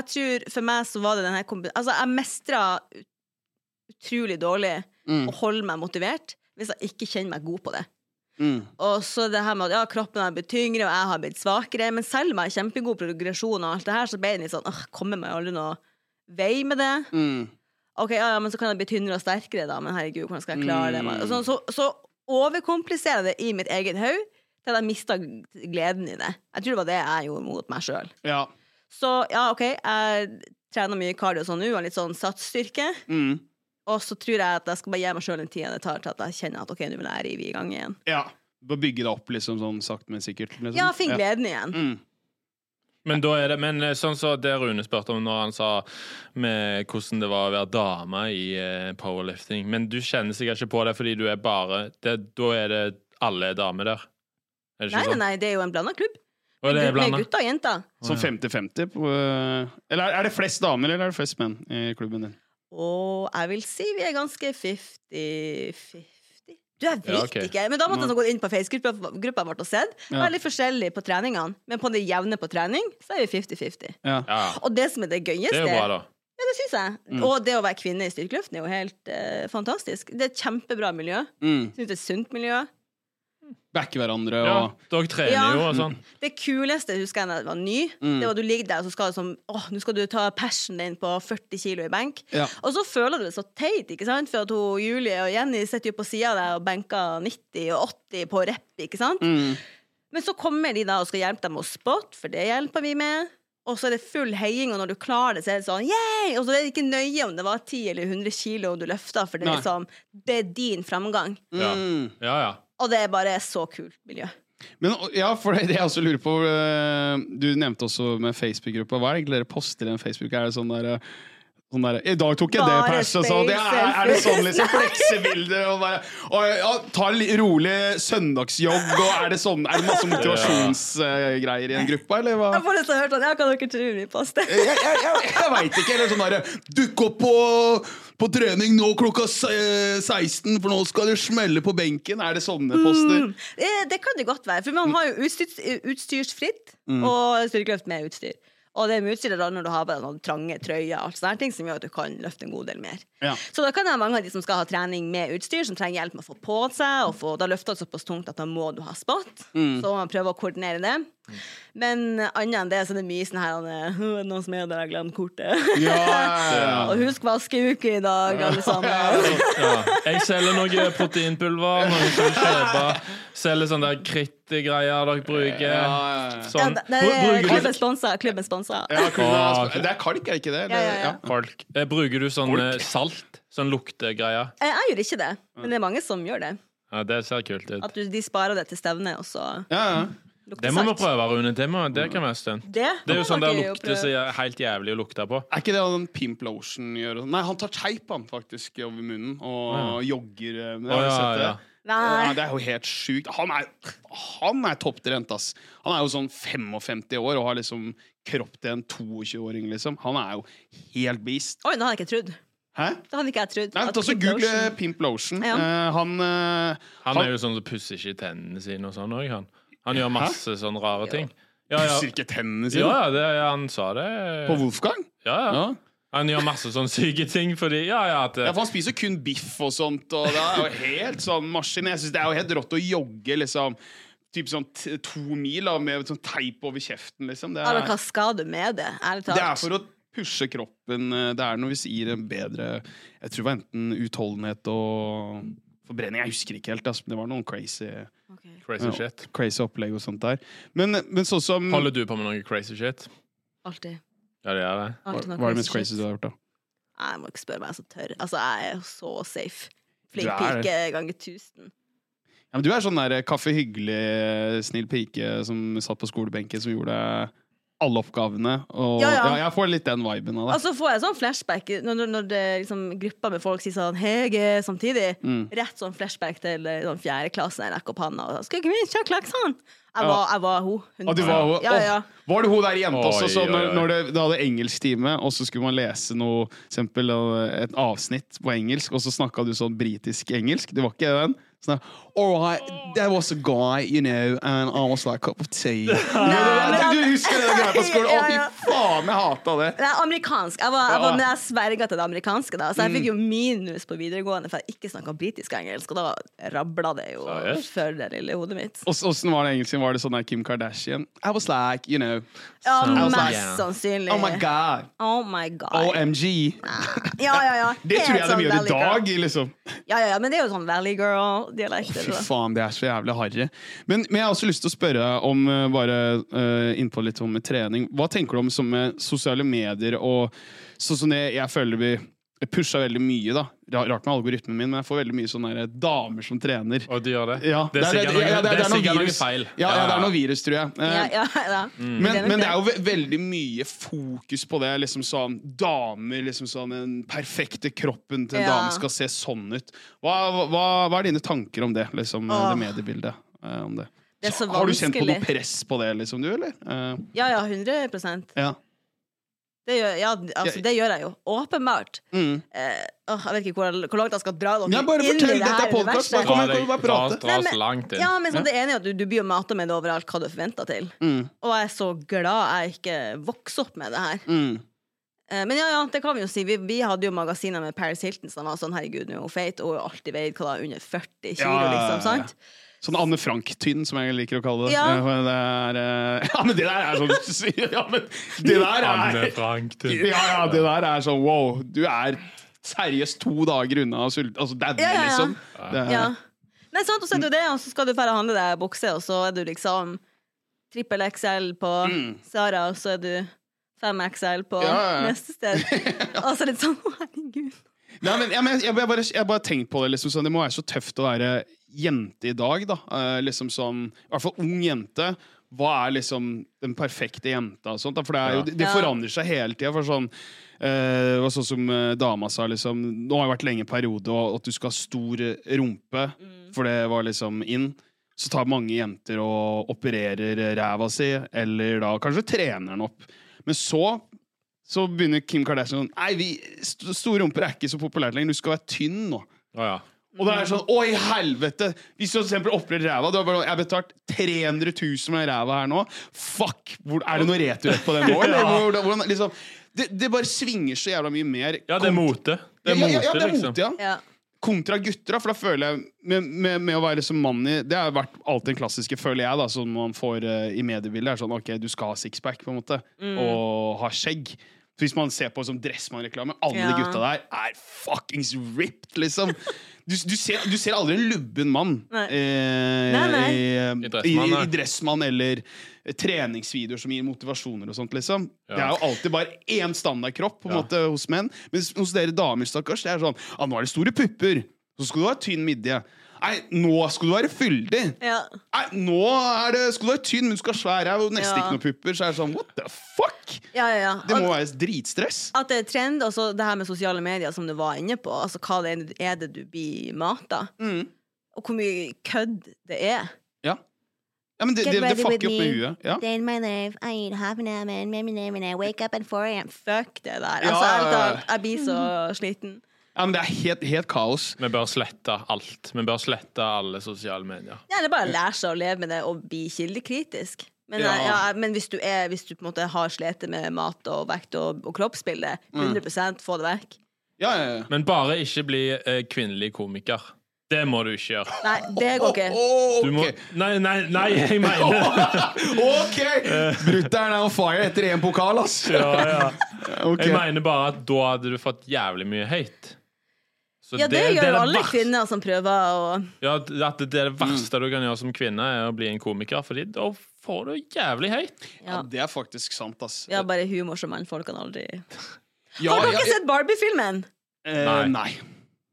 [SPEAKER 4] Jeg tror for meg så var det den her kombi- Altså, jeg mestra ut- utrolig dårlig
[SPEAKER 1] Mm.
[SPEAKER 4] å holde meg motivert hvis jeg ikke kjenner meg god på det.
[SPEAKER 1] Mm.
[SPEAKER 4] Og så det her med at ja, kroppen har blitt tyngre, og jeg har blitt svakere. Men selv om jeg har kjempegod progresjon og alt det her, så ble jeg litt sånn Åh, kommer meg aldri noe vei med det.
[SPEAKER 1] Mm.
[SPEAKER 4] Ok, ja, ja, men så kan jeg bli tynnere og sterkere, da. Men herregud, hvordan skal jeg klare det? Og Så, så, så overkompliserer jeg det i mitt eget hode til at jeg mista gleden i det. Jeg tror det var det jeg gjorde mot meg sjøl.
[SPEAKER 1] Ja.
[SPEAKER 4] Så ja, OK, jeg trener mye kardio og sånn nå, og litt sånn satsstyrke.
[SPEAKER 1] Mm.
[SPEAKER 4] Og så tror jeg at jeg skal bare gi meg sjøl den tida det tar til at jeg kjenner at OK, nå vil jeg rive i gang igjen.
[SPEAKER 1] ja. Bare bygge det opp liksom sånn sakte, men sikkert. Liksom.
[SPEAKER 4] Ja, finn gleden igjen.
[SPEAKER 1] Mm.
[SPEAKER 2] Men da er det, men eh, sånn som det Rune spurte om når han sa med hvordan det var å være dame i eh, powerlifting Men du kjenner sikkert ikke på det fordi du er bare det, Da er det alle er damer der. Er det
[SPEAKER 4] Nei,
[SPEAKER 2] ikke
[SPEAKER 4] nei,
[SPEAKER 2] sånn?
[SPEAKER 4] nei, det er jo en blanda klubb.
[SPEAKER 2] Og det er
[SPEAKER 4] med
[SPEAKER 2] blandet.
[SPEAKER 4] gutter og jenter.
[SPEAKER 1] Sånn 50-50 på eh, Eller er- er det flest damer, eller er det flest menn i klubben din?
[SPEAKER 4] Og jeg vil si vi er ganske 50-50. Du, jeg vet
[SPEAKER 2] Ja, ok.
[SPEAKER 4] ikke. Men da måtte jeg
[SPEAKER 1] Nei.
[SPEAKER 4] så gå inn på Facebook-gruppa gruppa vårt og sett. Det
[SPEAKER 1] Ja.
[SPEAKER 4] er litt forskjellig på treningene, men på det jevne på trening så er vi 50-50.
[SPEAKER 1] Ja.
[SPEAKER 2] Ja,
[SPEAKER 4] Og det som er det
[SPEAKER 2] det
[SPEAKER 4] gøyeste
[SPEAKER 2] er jo Mm. bra, da.
[SPEAKER 4] Ja, det syns jeg. Og det å være kvinne i styrkeløften er jo helt eh, fantastisk. Det er et kjempebra miljø.
[SPEAKER 1] Mm.
[SPEAKER 4] Jeg synes det er et sunt miljø.
[SPEAKER 1] Backe hverandre og
[SPEAKER 2] Ja, dere
[SPEAKER 4] Ja.
[SPEAKER 2] trener jo og sånn.
[SPEAKER 4] Det kuleste husker jeg da jeg var ny,
[SPEAKER 2] Mm.
[SPEAKER 4] det var at du ligger der og så skal du sånn Åh, nå skal du ta passionen din på 40 kilo i benk.
[SPEAKER 1] Ja.
[SPEAKER 4] Og så føler du det så teit, ikke sant? For at hun, Julie og Jenny sitter jo på sida av deg og benker 90 og 80 på rep, ikke sant?
[SPEAKER 1] Mm.
[SPEAKER 4] Men så kommer de da og skal hjelpe deg med å spotte, for det hjelper vi med. Og så er det full heiing, og når du klarer det, så er det sånn yeah! Og så er det ikke nøye om det var 10 eller 100 kilo du løfta, for det
[SPEAKER 1] Nei.
[SPEAKER 4] er liksom Det er din framgang.
[SPEAKER 2] Ja.
[SPEAKER 1] Mm.
[SPEAKER 2] ja, ja.
[SPEAKER 4] Og det er bare så kult miljø.
[SPEAKER 1] Men ja, for det, det jeg også lurer på eh, Du nevnte også med Facebook-gruppa. Hva er det egentlig dere poster i den Facebook? Er det sånn der, eh, sånn der I dag tok jeg
[SPEAKER 4] Bare
[SPEAKER 1] det pers, og sånn. Det er, er det sånn liksom fleksebilder og bare og, ja, Ta en li- rolig søndagsjogg, og er det sånn Er det masse motivasjonsgreier i den gruppa, eller hva?
[SPEAKER 4] Jeg får lyst til å høre sånn Ja, hva dere tror vi poster?
[SPEAKER 1] Jeg, jeg, jeg, jeg veit ikke. Eller sånn derre Dukk opp på, på trening nå klokka se- 16, for nå skal det smelle på benken. Er det sånne poster?
[SPEAKER 4] Det, Eh, det kan det godt være, for man har jo utstyrs, utstyrsfritt og styrkeløft med utstyr. Og det med utstyr er da når du har bare noen trange trøyer og alt sånne her ting som gjør at du kan løfte en god del mer.
[SPEAKER 1] Ja.
[SPEAKER 4] Så da kan det være mange av de som skal ha trening med utstyr, som trenger hjelp med å få på seg. Og få, da løfter det såpass tungt at da må du ha spott. Så må man prøve å koordinere det. Men eh, annet enn det så er det mye sånn her han, «Hm, er det Noen som er der, jeg har glemt kortet.
[SPEAKER 1] Ja, ja, ja.
[SPEAKER 4] og husk vaskeuke i dag, alle sammen.
[SPEAKER 2] Ja. Jeg selger noe proteinpulver, noe som kjøpe. Selger sånne der krittgreier dere bruker.
[SPEAKER 4] Ja,
[SPEAKER 2] Sånn.
[SPEAKER 4] det, det er
[SPEAKER 2] Bruker du
[SPEAKER 4] klubben sponset, Klubben sponsa.
[SPEAKER 1] Ja,
[SPEAKER 2] Ah,
[SPEAKER 1] Det er kalk, er det ikke det?
[SPEAKER 4] Ja, ja, ja.
[SPEAKER 2] Folk. Eh, Bruker du sånn eh, salt? Sånn luktegreier?
[SPEAKER 4] Jeg, jeg gjør ikke det, men det er mange som gjør det.
[SPEAKER 2] Ja, det ser kult ut.
[SPEAKER 4] At du, de sparer det til stevne, og så
[SPEAKER 1] Ja, ja.
[SPEAKER 4] lukter
[SPEAKER 2] Det må vi prøve, Rune. Det, må, det kan være stunt.
[SPEAKER 4] Det,
[SPEAKER 2] Det er jo
[SPEAKER 4] må
[SPEAKER 2] sånn
[SPEAKER 4] dere
[SPEAKER 2] der lukter
[SPEAKER 4] prøve.
[SPEAKER 2] så jæ- helt jævlig å lukte på.
[SPEAKER 1] Er ikke det han Pimp Lotion gjør? sånn? Nei, han tar teip han faktisk over munnen og jogger. eh, men jeg har
[SPEAKER 2] Å, ja,
[SPEAKER 1] sett det.
[SPEAKER 2] ja.
[SPEAKER 1] Ja,
[SPEAKER 4] Nei.
[SPEAKER 1] det er jo helt sjukt. Han er, han er topptrent, ass. Han er jo sånn 55 år og har liksom kropp til en 22-åring, liksom. Han er jo helt beast.
[SPEAKER 4] Oi, det hadde jeg ikke trodd.
[SPEAKER 1] Hæ?
[SPEAKER 4] Det hadde ikke jeg trodd.
[SPEAKER 1] Nei,
[SPEAKER 4] at
[SPEAKER 1] ta så
[SPEAKER 4] Pimp
[SPEAKER 1] Google
[SPEAKER 4] Lotion-
[SPEAKER 1] Pimp Lotion.
[SPEAKER 4] Ja.
[SPEAKER 1] Eh, han eh,
[SPEAKER 2] Han er jo sånn som pusser ikke tennene sine og sånn òg, han. Han gjør masse sånne rare ting. Ja, ja.
[SPEAKER 1] pusser ikke tennene sine
[SPEAKER 2] Ja, ja, det, ja, han sa det.
[SPEAKER 1] på Wolfgang.
[SPEAKER 2] Ja, ja.
[SPEAKER 1] Ja.
[SPEAKER 2] Han gjør masse sånne syke ting fordi Ja, ja, at
[SPEAKER 1] Ja, for han spiser jo kun biff og sånt, og det er jo helt sånn maskin. Jeg synes det er jo helt rått å jogge, liksom. Typ sånn t- to mil da, med sånn teip over kjeften, liksom. Det
[SPEAKER 4] Ja, men
[SPEAKER 1] er,
[SPEAKER 4] hva skal du med det? Ærlig talt.
[SPEAKER 1] det er for å pushe kroppen. eh, Det er noe vi sier en bedre Jeg tror det var enten utholdenhet og forbrenning. Jeg husker ikke helt, ass, men det var noen crazy,
[SPEAKER 4] Ok.
[SPEAKER 2] Crazy shit.
[SPEAKER 1] crazy opplegg og sånt der. Men, men sånn som
[SPEAKER 2] Holder du på med noe crazy shit?
[SPEAKER 4] Alltid.
[SPEAKER 2] Ja, det gjør det.
[SPEAKER 1] Hva
[SPEAKER 4] Alltid noe
[SPEAKER 1] hva er det mest
[SPEAKER 4] shit.
[SPEAKER 1] crazy du har gjort, da?
[SPEAKER 4] Nei, jeg må ikke spørre meg, jeg er så tørr. Altså, jeg er så safe.
[SPEAKER 1] Du er
[SPEAKER 4] Flink
[SPEAKER 1] det.
[SPEAKER 4] pike ganger tusen.
[SPEAKER 1] Ja, eh, men du er sånn der kaffe hyggelig, snill pike som satt på skolebenken som gjorde alle oppgavene. Og,
[SPEAKER 4] Ja,
[SPEAKER 1] ja,
[SPEAKER 4] ja.
[SPEAKER 1] jeg får litt den viben av det.
[SPEAKER 4] Og så får jeg sånn flashback når, når, når det, liksom, gruppa med folk sier sånn Hege samtidig.
[SPEAKER 1] Mm.
[SPEAKER 4] Rett sånn flashback til eh, sånn fjerde klasse. Jeg rekker opp handa og Skal ikke vi kjøre klakson? Jeg var, jeg var hun.
[SPEAKER 1] Og Ah, du var,
[SPEAKER 4] Ja, ja.
[SPEAKER 1] Åh, var det hun der jenta også,
[SPEAKER 2] Oi,
[SPEAKER 1] som
[SPEAKER 2] oi,
[SPEAKER 1] når,
[SPEAKER 2] oi.
[SPEAKER 1] når det, det hadde engelsktime, og så skulle man lese noe, for eksempel eh, et avsnitt på engelsk, og så snakka du sånn britisk engelsk? Det var ikke den? Sånn, All right, there was a guy, you know, and I was like a cup of tea.
[SPEAKER 4] men
[SPEAKER 1] du,
[SPEAKER 4] han-
[SPEAKER 1] du husker det greia på skolen? Å,
[SPEAKER 4] Ja, ja.
[SPEAKER 1] fy faen, jeg hata det!
[SPEAKER 4] Nei, amerikansk. Jeg, var, jeg,
[SPEAKER 1] Ja. Mm.
[SPEAKER 4] var, men jeg sverga til det amerikanske, da. Så jeg fikk jo minus på videregående for jeg ikke snakka britisk og engelsk. Og da rabla det jo
[SPEAKER 2] Seriøst?
[SPEAKER 4] for det lille hodet mitt.
[SPEAKER 1] Og så- Åssen var det engelsk? Var det sånn der Kim Kardashian? I was like, you know,
[SPEAKER 4] Ja,
[SPEAKER 2] Sånn.
[SPEAKER 4] mest sannsynlig.
[SPEAKER 1] oh my god,
[SPEAKER 4] Oh my god.
[SPEAKER 1] OMG.
[SPEAKER 4] Ja, ja, ja.
[SPEAKER 1] Det tror
[SPEAKER 4] Helt sånn
[SPEAKER 1] jeg de gjør
[SPEAKER 4] Valley
[SPEAKER 1] i dag,
[SPEAKER 4] Girl.
[SPEAKER 1] liksom.
[SPEAKER 4] Ja, ja, ja, men det er jo sånn Valley Girl-dialekt.
[SPEAKER 1] Fy faen, det er så jævlig harry. Men, men jeg har også lyst til å spørre om eh, bare eh, innpå litt om trening. Hva tenker du om som med sosiale medier og sånn som det jeg føler vi pusha veldig mye, da. Ra- Rart med algoritmen min, men jeg får veldig mye sånne der damer som trener.
[SPEAKER 2] Og de gjør det.
[SPEAKER 1] Ja,
[SPEAKER 2] det er sikkert noe,
[SPEAKER 1] ja,
[SPEAKER 2] det er
[SPEAKER 1] noe
[SPEAKER 2] sikkert noe
[SPEAKER 1] virus.
[SPEAKER 2] feil.
[SPEAKER 1] Ja, ja, det er noe virus, tror jeg. Eh,
[SPEAKER 4] ja, ja, ja.
[SPEAKER 1] Men,
[SPEAKER 4] nok
[SPEAKER 1] men det
[SPEAKER 4] det.
[SPEAKER 1] er jo ve veldig mye fokus på det. Liksom sånn Damer, liksom sånn Den perfekte kroppen til en
[SPEAKER 4] Ja.
[SPEAKER 1] dame skal se sånn ut. Hva, hva, hva er dine tanker om det? Liksom,
[SPEAKER 4] Åh.
[SPEAKER 1] det mediebildet eh, om det.
[SPEAKER 4] Det er så
[SPEAKER 1] Har du kjent på noe
[SPEAKER 4] vanskelig.
[SPEAKER 1] press på det, liksom, du, eller? Eh,
[SPEAKER 4] Ja, ja, 100
[SPEAKER 1] ja.
[SPEAKER 4] det gjør, ja, altså, det gjør jeg jo. Åpenbart.
[SPEAKER 1] Mm.
[SPEAKER 4] Eh, åh, jeg vet ikke hvor, hvor langt jeg skal dra dere
[SPEAKER 1] Ja, bare
[SPEAKER 4] inn
[SPEAKER 1] fortell,
[SPEAKER 4] i det
[SPEAKER 1] dette
[SPEAKER 4] her
[SPEAKER 1] er podcast,
[SPEAKER 4] universet.
[SPEAKER 1] bare kom
[SPEAKER 2] Dra
[SPEAKER 1] igjen,
[SPEAKER 2] deg-
[SPEAKER 1] bare
[SPEAKER 2] dra
[SPEAKER 1] prate.
[SPEAKER 2] oss- dra
[SPEAKER 4] Nei,
[SPEAKER 2] oss
[SPEAKER 4] men-
[SPEAKER 2] langt inn.
[SPEAKER 4] Ja, men sånn, Det ene er at du, du blir jo mata med det overalt, hva du forventer til.
[SPEAKER 1] Mm.
[SPEAKER 4] Og jeg er så glad jeg ikke vokste opp med det her.
[SPEAKER 1] Mm.
[SPEAKER 4] Eh, Men ja, ja, det kan vi jo si. Vi, vi hadde jo magasiner med Paris Hilton som var sånn herregud, nå er hun feit, og hun har alltid veid hva da, under 40
[SPEAKER 1] Ja,
[SPEAKER 4] kilo,
[SPEAKER 1] ja, ja, ja.
[SPEAKER 4] liksom. sant?
[SPEAKER 1] Sånn Anne Frank-tynn, som jeg liker å kalle det.
[SPEAKER 4] Ja.
[SPEAKER 1] Eh, for det er, eh, ja, men det der er sånn ja, men Det der
[SPEAKER 2] Anne
[SPEAKER 1] er
[SPEAKER 2] Frank. du.
[SPEAKER 1] Ja, ja, det der er sånn wow. Du er seriøst to dager unna å sulte Altså daue,
[SPEAKER 4] Ja, ja, ja.
[SPEAKER 1] liksom. Det er,
[SPEAKER 4] Ja. Nei, sant, og så er det jo det, og så skal du bare handle deg bukse, og så er du liksom trippel XL på Sara, og så er du 5XL på
[SPEAKER 1] Mm. Ja, ja, ja.
[SPEAKER 4] neste sted. Og så er det litt sånn, å herregud.
[SPEAKER 1] Nei, men, ja, men jeg, jeg, bare, jeg bare tenkt på det. Liksom, sånn, det må være så tøft å være jente i dag. Da. Eh, liksom sånn, I hvert fall ung jente. Hva er liksom den perfekte jenta? Og sånt, da? For det, er jo, det, det
[SPEAKER 4] Ja.
[SPEAKER 1] forandrer seg hele tida. Sånn, eh, det var sånn som eh, dama sa. Liksom, nå har det vært lenge periode og at du skal ha stor eh, rumpe, for det var liksom inn. Så tar mange jenter og opererer ræva si, eller da kanskje trener den opp. Men så så begynner Kim Kardashian sånn Nei, vi, st store rumper er ikke så populært lenger. Du skal være tynn nå.
[SPEAKER 2] Å, ja.
[SPEAKER 1] Og det er sånn Å, i helvete! Hvis du for eksempel opererer ræva du har bare, sånn, Jeg har betalt 300 000 for den ræva her nå. Fuck! Hvor, er det noe returrett på den nå? eller? Hvordan- hvordan- liksom, det, det bare svinger så jævla mye mer.
[SPEAKER 2] ja, det er mote. Det
[SPEAKER 1] Ja,
[SPEAKER 2] er
[SPEAKER 1] ja,
[SPEAKER 2] mote,
[SPEAKER 1] ja, det er mote,
[SPEAKER 2] liksom.
[SPEAKER 1] ja.
[SPEAKER 4] Ja.
[SPEAKER 1] Kontra gutter, da, for da føler jeg med, med, med å være som mann i Det har vært alltid den klassiske, føler jeg, da, som man får eh, i mediebildet. er sånn, Ok, du skal ha sixpack på en måte,
[SPEAKER 4] Mm.
[SPEAKER 1] og ha skjegg. Så hvis man ser på som Dressmann-reklame, alle
[SPEAKER 4] Ja.
[SPEAKER 1] gutta der er fuckings ripped, liksom. Du, du, ser, du ser aldri en lubben mann
[SPEAKER 4] Nei.
[SPEAKER 1] eh,
[SPEAKER 4] Nei, nei.
[SPEAKER 1] I, eh,
[SPEAKER 2] I Dressmann,
[SPEAKER 1] i,
[SPEAKER 2] nei.
[SPEAKER 1] i Dressmann eller eh, treningsvideoer som gir motivasjoner og sånt, liksom.
[SPEAKER 2] Ja.
[SPEAKER 1] Det er jo alltid bare én standardkropp på en
[SPEAKER 2] Ja.
[SPEAKER 1] måte hos menn. Mens hos dere damer, stakkars, det er sånn ah, Nå er det store pupper. Så skal du ha tynn midje. Nei, nå skal du være fyldig.
[SPEAKER 4] Ja.
[SPEAKER 1] Nei, nå er det, skal du være tynn, men du skal ha svær ræv og nesten
[SPEAKER 4] Ja.
[SPEAKER 1] ikke noen pupper. Så er det sånn what the fuck?
[SPEAKER 4] Ja, ja, ja.
[SPEAKER 1] Det
[SPEAKER 4] Og-
[SPEAKER 1] må være dritstress.
[SPEAKER 4] at det er trend, og så det her med sosiale medier som du var inne på. Altså, hva det er, er det du blir mata?
[SPEAKER 1] Mm.
[SPEAKER 4] Og hvor mye kødd det er.
[SPEAKER 1] Ja. ja men det,
[SPEAKER 5] Get
[SPEAKER 1] det, det
[SPEAKER 5] ready with
[SPEAKER 1] fucker opp med
[SPEAKER 5] me.
[SPEAKER 1] huet. Ja.
[SPEAKER 5] Day in my life, I eat half an hour and maybe name and I wake up at 4 a.m.
[SPEAKER 4] Fuck det der.
[SPEAKER 1] Ja,
[SPEAKER 4] Altså,
[SPEAKER 1] ja,
[SPEAKER 4] ærlig
[SPEAKER 1] ja.
[SPEAKER 4] talt, jeg blir så sliten.
[SPEAKER 1] ja, men det er helt, helt kaos.
[SPEAKER 2] Vi bør slette alt. Vi bør slette alle sosiale medier.
[SPEAKER 4] Ja, det er bare å lære seg å leve med det og bli kildekritisk. Men,
[SPEAKER 1] Ja.
[SPEAKER 4] eh, ja, men hvis, du er, hvis du på en måte har slitt med mat og vekt og, og kroppsbilde,
[SPEAKER 1] Mm.
[SPEAKER 4] 100 få det vekk.
[SPEAKER 1] Ja, ja, ja.
[SPEAKER 2] Men bare ikke bli eh, kvinnelig komiker. Det må du ikke gjøre.
[SPEAKER 4] Nei, det går ikke.
[SPEAKER 1] Å,
[SPEAKER 2] Du må,
[SPEAKER 1] ok.
[SPEAKER 2] nei, nei, nei, jeg mener
[SPEAKER 1] OK! Brutter'n er on fire etter én pokal, ass.
[SPEAKER 2] Eh. ja, ja.
[SPEAKER 1] Ok.
[SPEAKER 2] Jeg mener bare at da hadde du fått jævlig mye hate. Så
[SPEAKER 4] Ja, det, gjør
[SPEAKER 2] det
[SPEAKER 4] jo alle
[SPEAKER 2] verste-
[SPEAKER 4] kvinner som prøver å
[SPEAKER 2] Ja, at det, er det
[SPEAKER 1] Mm.
[SPEAKER 2] verste du kan gjøre som kvinne, er å bli en komiker, Fordi da får du jævlig hate.
[SPEAKER 1] Ja,
[SPEAKER 4] Ja.
[SPEAKER 1] det er faktisk sant, ass.
[SPEAKER 4] Vi har bare humor som mannfolkene aldri
[SPEAKER 1] Ja,
[SPEAKER 4] Har
[SPEAKER 1] ja,
[SPEAKER 4] dere sett Barbie-filmen?
[SPEAKER 1] Eh,
[SPEAKER 2] Nei.
[SPEAKER 1] nei.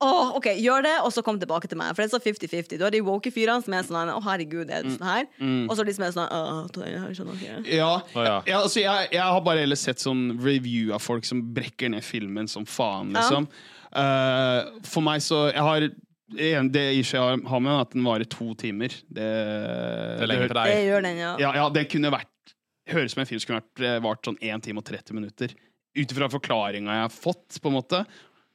[SPEAKER 4] Åh, ok, Gjør det, og så kom tilbake til meg. For det er så 50-50. Du har de woke fyrene som er sånn Å, herregud, er det sånn her? Og så er det de som er sånn Åh, ta den her, skjønner dere.
[SPEAKER 1] Ja,
[SPEAKER 2] Å, ja.
[SPEAKER 1] ja altså, jeg, jeg har bare heller sett sånn review av folk som brekker ned filmen som faen,
[SPEAKER 4] Ja.
[SPEAKER 1] liksom. Eh, for meg så Jeg har en, Det i seg har- har med at den varer to timer. Det,
[SPEAKER 2] Det er lenge for
[SPEAKER 4] Det
[SPEAKER 2] deg.
[SPEAKER 4] gjør den, ja.
[SPEAKER 1] Ja, ja, det kunne vært Høres ut som en film som kunne vært, eh, vart sånn 1 time og 30 minutter. Ut ifra forklaringa jeg har fått, på en måte.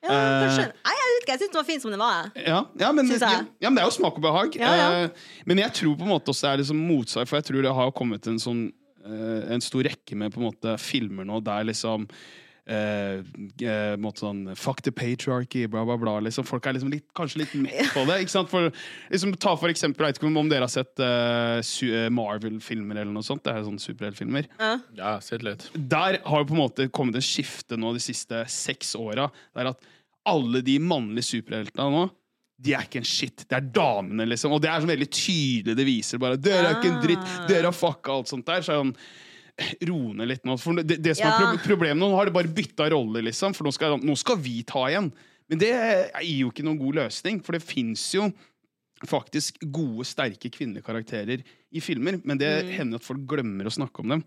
[SPEAKER 4] ja kanskje. Nei, jeg vet ikke. Jeg syns den var fin som den var. jeg.
[SPEAKER 1] Ja, ja, men,
[SPEAKER 4] Synes jeg.
[SPEAKER 1] ja, ja, men det er jo smak og behag.
[SPEAKER 4] Ja, ja.
[SPEAKER 1] Eh, Men jeg tror på en måte også det er liksom motsatt, for jeg tror det har kommet en sånn eh, En stor rekke med på en måte filmer nå der liksom eh, eh, på en måte sånn Fuck the patriarchy, bla, bla, bla. Liksom. Folk er liksom litt, kanskje litt mett på det. Ikke sant? For, liksom, ta for eksempel, jeg vet ikke om dere har sett eh, su- eh, Marvel-filmer eller noe sånt. Det er sånne superheltfilmer
[SPEAKER 2] Ja, sitt litt.
[SPEAKER 1] der har det på en måte kommet et skifte nå de siste seks åra. Der at alle de mannlige superheltene nå, de er ikke en shit. Det er damene, liksom. Og det er sånn veldig tydelig. Det viser bare Dere er ikke en dritt. Dere har fucka alt sånt der. Så er det sånn Ro ned litt nå. For det, det som er
[SPEAKER 4] Ja.
[SPEAKER 1] proble- problemet nå, nå har de bare bytta roller, liksom. For nå skal, nå skal vi ta igjen. Men det gir jo ikke noen god løsning, for det fins jo faktisk gode, sterke kvinnelige karakterer i filmer, men det hender at folk glemmer å snakke om dem.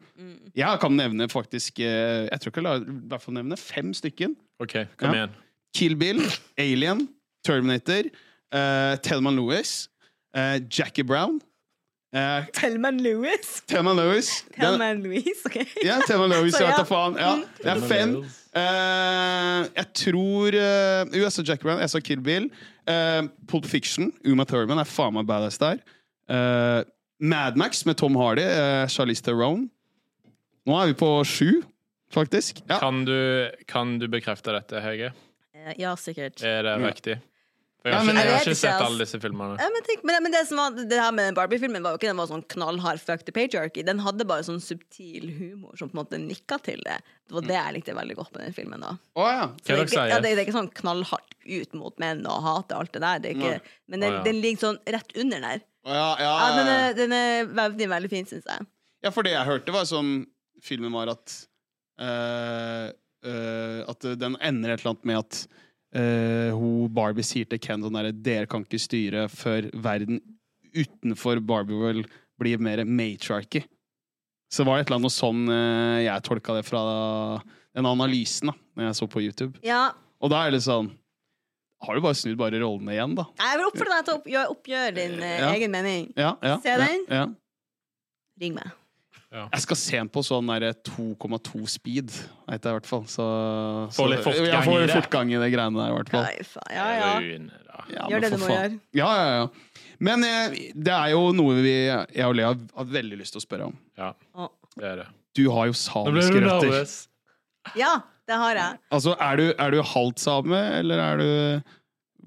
[SPEAKER 1] Jeg kan nevne faktisk eh, Jeg tror ikke jeg la, i hvert fall nevne fem stykken.
[SPEAKER 2] OK, kom
[SPEAKER 1] Ja.
[SPEAKER 2] igjen.
[SPEAKER 1] Kill Bill, Alien, Terminator, uh, Thelman Lewis, eh, Jackie Brown eh,
[SPEAKER 4] Thelman Lewis.
[SPEAKER 1] Thelma Lewis. Den-
[SPEAKER 4] Thelman Louise, OK?
[SPEAKER 1] Ja, Thelma Lewis,
[SPEAKER 4] Så
[SPEAKER 1] jeg vet
[SPEAKER 4] ja. Mm.
[SPEAKER 1] da faen. Ja, det er
[SPEAKER 2] Thelma
[SPEAKER 1] fem.
[SPEAKER 2] Lewis.
[SPEAKER 1] Eh, jeg tror eh, Jo, jeg så Jack Brown, jeg så Kill Bill. Eh, Pulp Fiction, Uma Thurman er faen meg badass der. Eh, Mad Max med Tom Hardy, uh, Charlize Theron. Nå er vi på sju, faktisk. Ja.
[SPEAKER 2] Kan du, kan du bekrefte dette, Hege?
[SPEAKER 4] Eh, Ja, sikkert.
[SPEAKER 2] Er det riktig? For jeg
[SPEAKER 1] Ja,
[SPEAKER 2] har
[SPEAKER 1] men-
[SPEAKER 2] ikke, jeg
[SPEAKER 4] Jeg
[SPEAKER 2] har
[SPEAKER 4] vet
[SPEAKER 2] ikke
[SPEAKER 4] ikke,
[SPEAKER 2] sett
[SPEAKER 4] ass.
[SPEAKER 2] alle disse filmene.
[SPEAKER 4] Ja, men tenk, men, men det som var Det her med den Barbie-filmen var jo ikke den var sånn knallhard fuck the patriarchy. Den hadde bare sånn subtil humor som på en måte nikka til det. Det var det jeg likte veldig godt med den filmen. da
[SPEAKER 1] Å, ja.
[SPEAKER 2] Hva er
[SPEAKER 4] Så det,
[SPEAKER 2] det
[SPEAKER 4] er ikke,
[SPEAKER 2] dere
[SPEAKER 4] ja,
[SPEAKER 2] sier?
[SPEAKER 4] det, det er ikke sånn knallhardt ut mot menn og hate alt det der. Det er
[SPEAKER 1] Nei.
[SPEAKER 4] ikke, men den,
[SPEAKER 2] Å, ja.
[SPEAKER 4] den ligger sånn rett under der.
[SPEAKER 1] Å, ja, ja,
[SPEAKER 4] Ja, den,
[SPEAKER 1] ja,
[SPEAKER 4] er,
[SPEAKER 1] ja.
[SPEAKER 4] den er veldig, veldig fin, syns jeg.
[SPEAKER 1] ja, for det jeg hørte, var som filmen var at eh, eh, At den ender et eller annet med at eh, hun Barbie sier til Ken sånn derre Dere kan ikke styre før verden utenfor Barbie World blir mer matriarchy. Så var det et eller annet noe sånn eh, jeg tolka det fra den analysen da Når jeg så på YouTube.
[SPEAKER 4] Ja,
[SPEAKER 1] Og da er det sånn Har du bare snudd bare rollene igjen, da?
[SPEAKER 4] jeg vil oppfordre deg til å oppgjøre, oppgjøre din eh,
[SPEAKER 1] Ja.
[SPEAKER 4] egen mening.
[SPEAKER 1] Ja, ja,
[SPEAKER 4] Se den.
[SPEAKER 1] Ja, ja.
[SPEAKER 4] Ring meg.
[SPEAKER 1] Jeg skal se den på sånn der 2,2 speed, vet jeg i hvert fall. Så,
[SPEAKER 2] Få litt
[SPEAKER 1] så-
[SPEAKER 2] fortgang
[SPEAKER 1] jeg får
[SPEAKER 2] i det.
[SPEAKER 1] fortgang i det greiene der, i hvert fall.
[SPEAKER 4] Nei, faen. Ja, ja.
[SPEAKER 2] Rune, da.
[SPEAKER 1] Ja,
[SPEAKER 4] Gjør
[SPEAKER 1] men
[SPEAKER 4] det du
[SPEAKER 1] for
[SPEAKER 4] må
[SPEAKER 1] faen.
[SPEAKER 4] gjøre.
[SPEAKER 1] Ja, ja, ja. Men eh, det er jo noe vi, jeg og Lea har veldig lyst til å spørre om.
[SPEAKER 2] Ja,
[SPEAKER 4] Å.
[SPEAKER 2] det er det.
[SPEAKER 1] Du har jo samiske røtter.
[SPEAKER 4] ja, det har jeg.
[SPEAKER 1] Altså, er du, er du halvt same, eller er du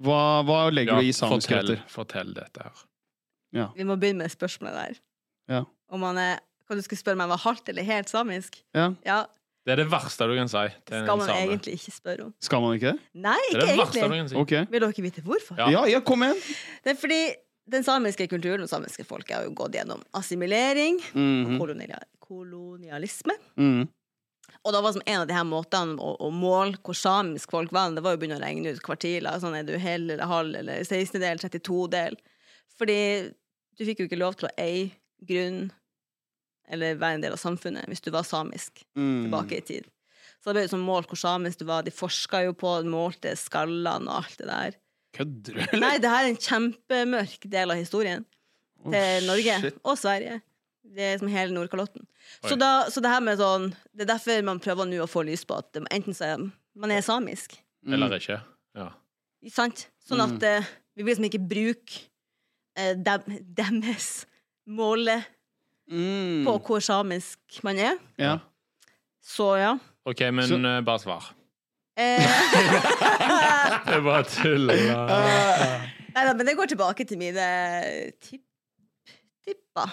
[SPEAKER 1] Hva, hva legger
[SPEAKER 2] Ja,
[SPEAKER 1] du i samiske
[SPEAKER 2] fortell,
[SPEAKER 1] røtter?
[SPEAKER 2] fortell dette her.
[SPEAKER 4] Vi må begynne med spørsmålet der.
[SPEAKER 1] Ja.
[SPEAKER 4] Om han er Kan du skulle spørre meg om jeg var halvt eller helt samisk?
[SPEAKER 1] Ja.
[SPEAKER 4] Ja,
[SPEAKER 2] Det er det verste du kan si til
[SPEAKER 4] Skal
[SPEAKER 2] en
[SPEAKER 4] man
[SPEAKER 2] same.
[SPEAKER 4] egentlig ikke spørre om?
[SPEAKER 1] Skal man ikke det?
[SPEAKER 4] Nei,
[SPEAKER 2] Det
[SPEAKER 4] ikke
[SPEAKER 2] er det verste du
[SPEAKER 4] egentlig.
[SPEAKER 2] kan si.
[SPEAKER 1] Ok.
[SPEAKER 4] Vil dere vite hvorfor?
[SPEAKER 2] Ja.
[SPEAKER 1] Ja, ja, kom igjen!
[SPEAKER 4] Det er fordi den samiske kulturen og samiske folket har jo gått gjennom assimilering,
[SPEAKER 1] Mhm,
[SPEAKER 4] kolonial, kolonialisme.
[SPEAKER 1] mhm.
[SPEAKER 4] Og da var som en av de her måtene å, å måle hvor samisk folk var, det var jo å begynne å regne ut kvartiler. Sånn er du hel eller halv eller 16-del, 32-del. Fordi du fikk jo ikke lov til å eie grunn eller være en del av samfunnet hvis du var samisk
[SPEAKER 1] Mhm.
[SPEAKER 4] tilbake i tid. Så det ble jo sånn målt hvor samisk du var. De forska jo på, målte skallene og alt det der.
[SPEAKER 1] Kødder du, eller?
[SPEAKER 4] Nei, det her er en kjempemørk del av historien
[SPEAKER 1] Oh,
[SPEAKER 4] til Norge
[SPEAKER 1] shit.
[SPEAKER 4] og Sverige. Det er som hele Nordkalotten. Så,
[SPEAKER 2] Oi.
[SPEAKER 4] da, så det her med sånn Det er derfor man prøver nå å få lys på at det- enten så er man er samisk,
[SPEAKER 2] Eller ikke. Ja.
[SPEAKER 4] sant? Sånn at
[SPEAKER 1] Mm.
[SPEAKER 4] eh, vi vil liksom ikke bruke eh, dem, deres måle
[SPEAKER 1] Mm.
[SPEAKER 4] på hvor samisk man er.
[SPEAKER 1] Ja.
[SPEAKER 4] Så ja.
[SPEAKER 2] OK, men
[SPEAKER 1] Så-
[SPEAKER 2] eh, bare svar.
[SPEAKER 4] Eh,
[SPEAKER 2] Det er bare tull.
[SPEAKER 4] nei da, Eh, men det går tilbake til mine eh, tipp, tippa.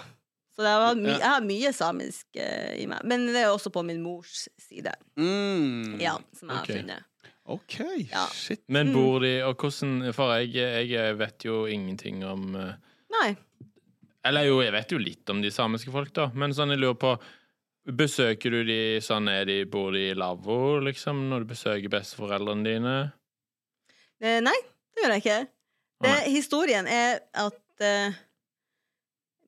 [SPEAKER 4] Så det var my,
[SPEAKER 1] Ja.
[SPEAKER 4] jeg har mye samisk eh, i meg. Men det er også på min mors side,
[SPEAKER 1] Mm.
[SPEAKER 4] ja, som jeg
[SPEAKER 2] Ok.
[SPEAKER 4] har funnet.
[SPEAKER 1] Ok,
[SPEAKER 4] Ja.
[SPEAKER 1] shit.
[SPEAKER 4] Mm.
[SPEAKER 2] Men bor de Og hvordan For jeg, jeg vet jo ingenting om eh,
[SPEAKER 4] Nei.
[SPEAKER 2] Eller jo, jeg vet jo litt om de samiske folk, da, men sånn, jeg lurer på Besøker du de sånn er de Bor de i lavvo, liksom, når du besøker besteforeldrene dine?
[SPEAKER 4] Eh, nei, det Det gjør jeg ikke. Det, historien er at eh,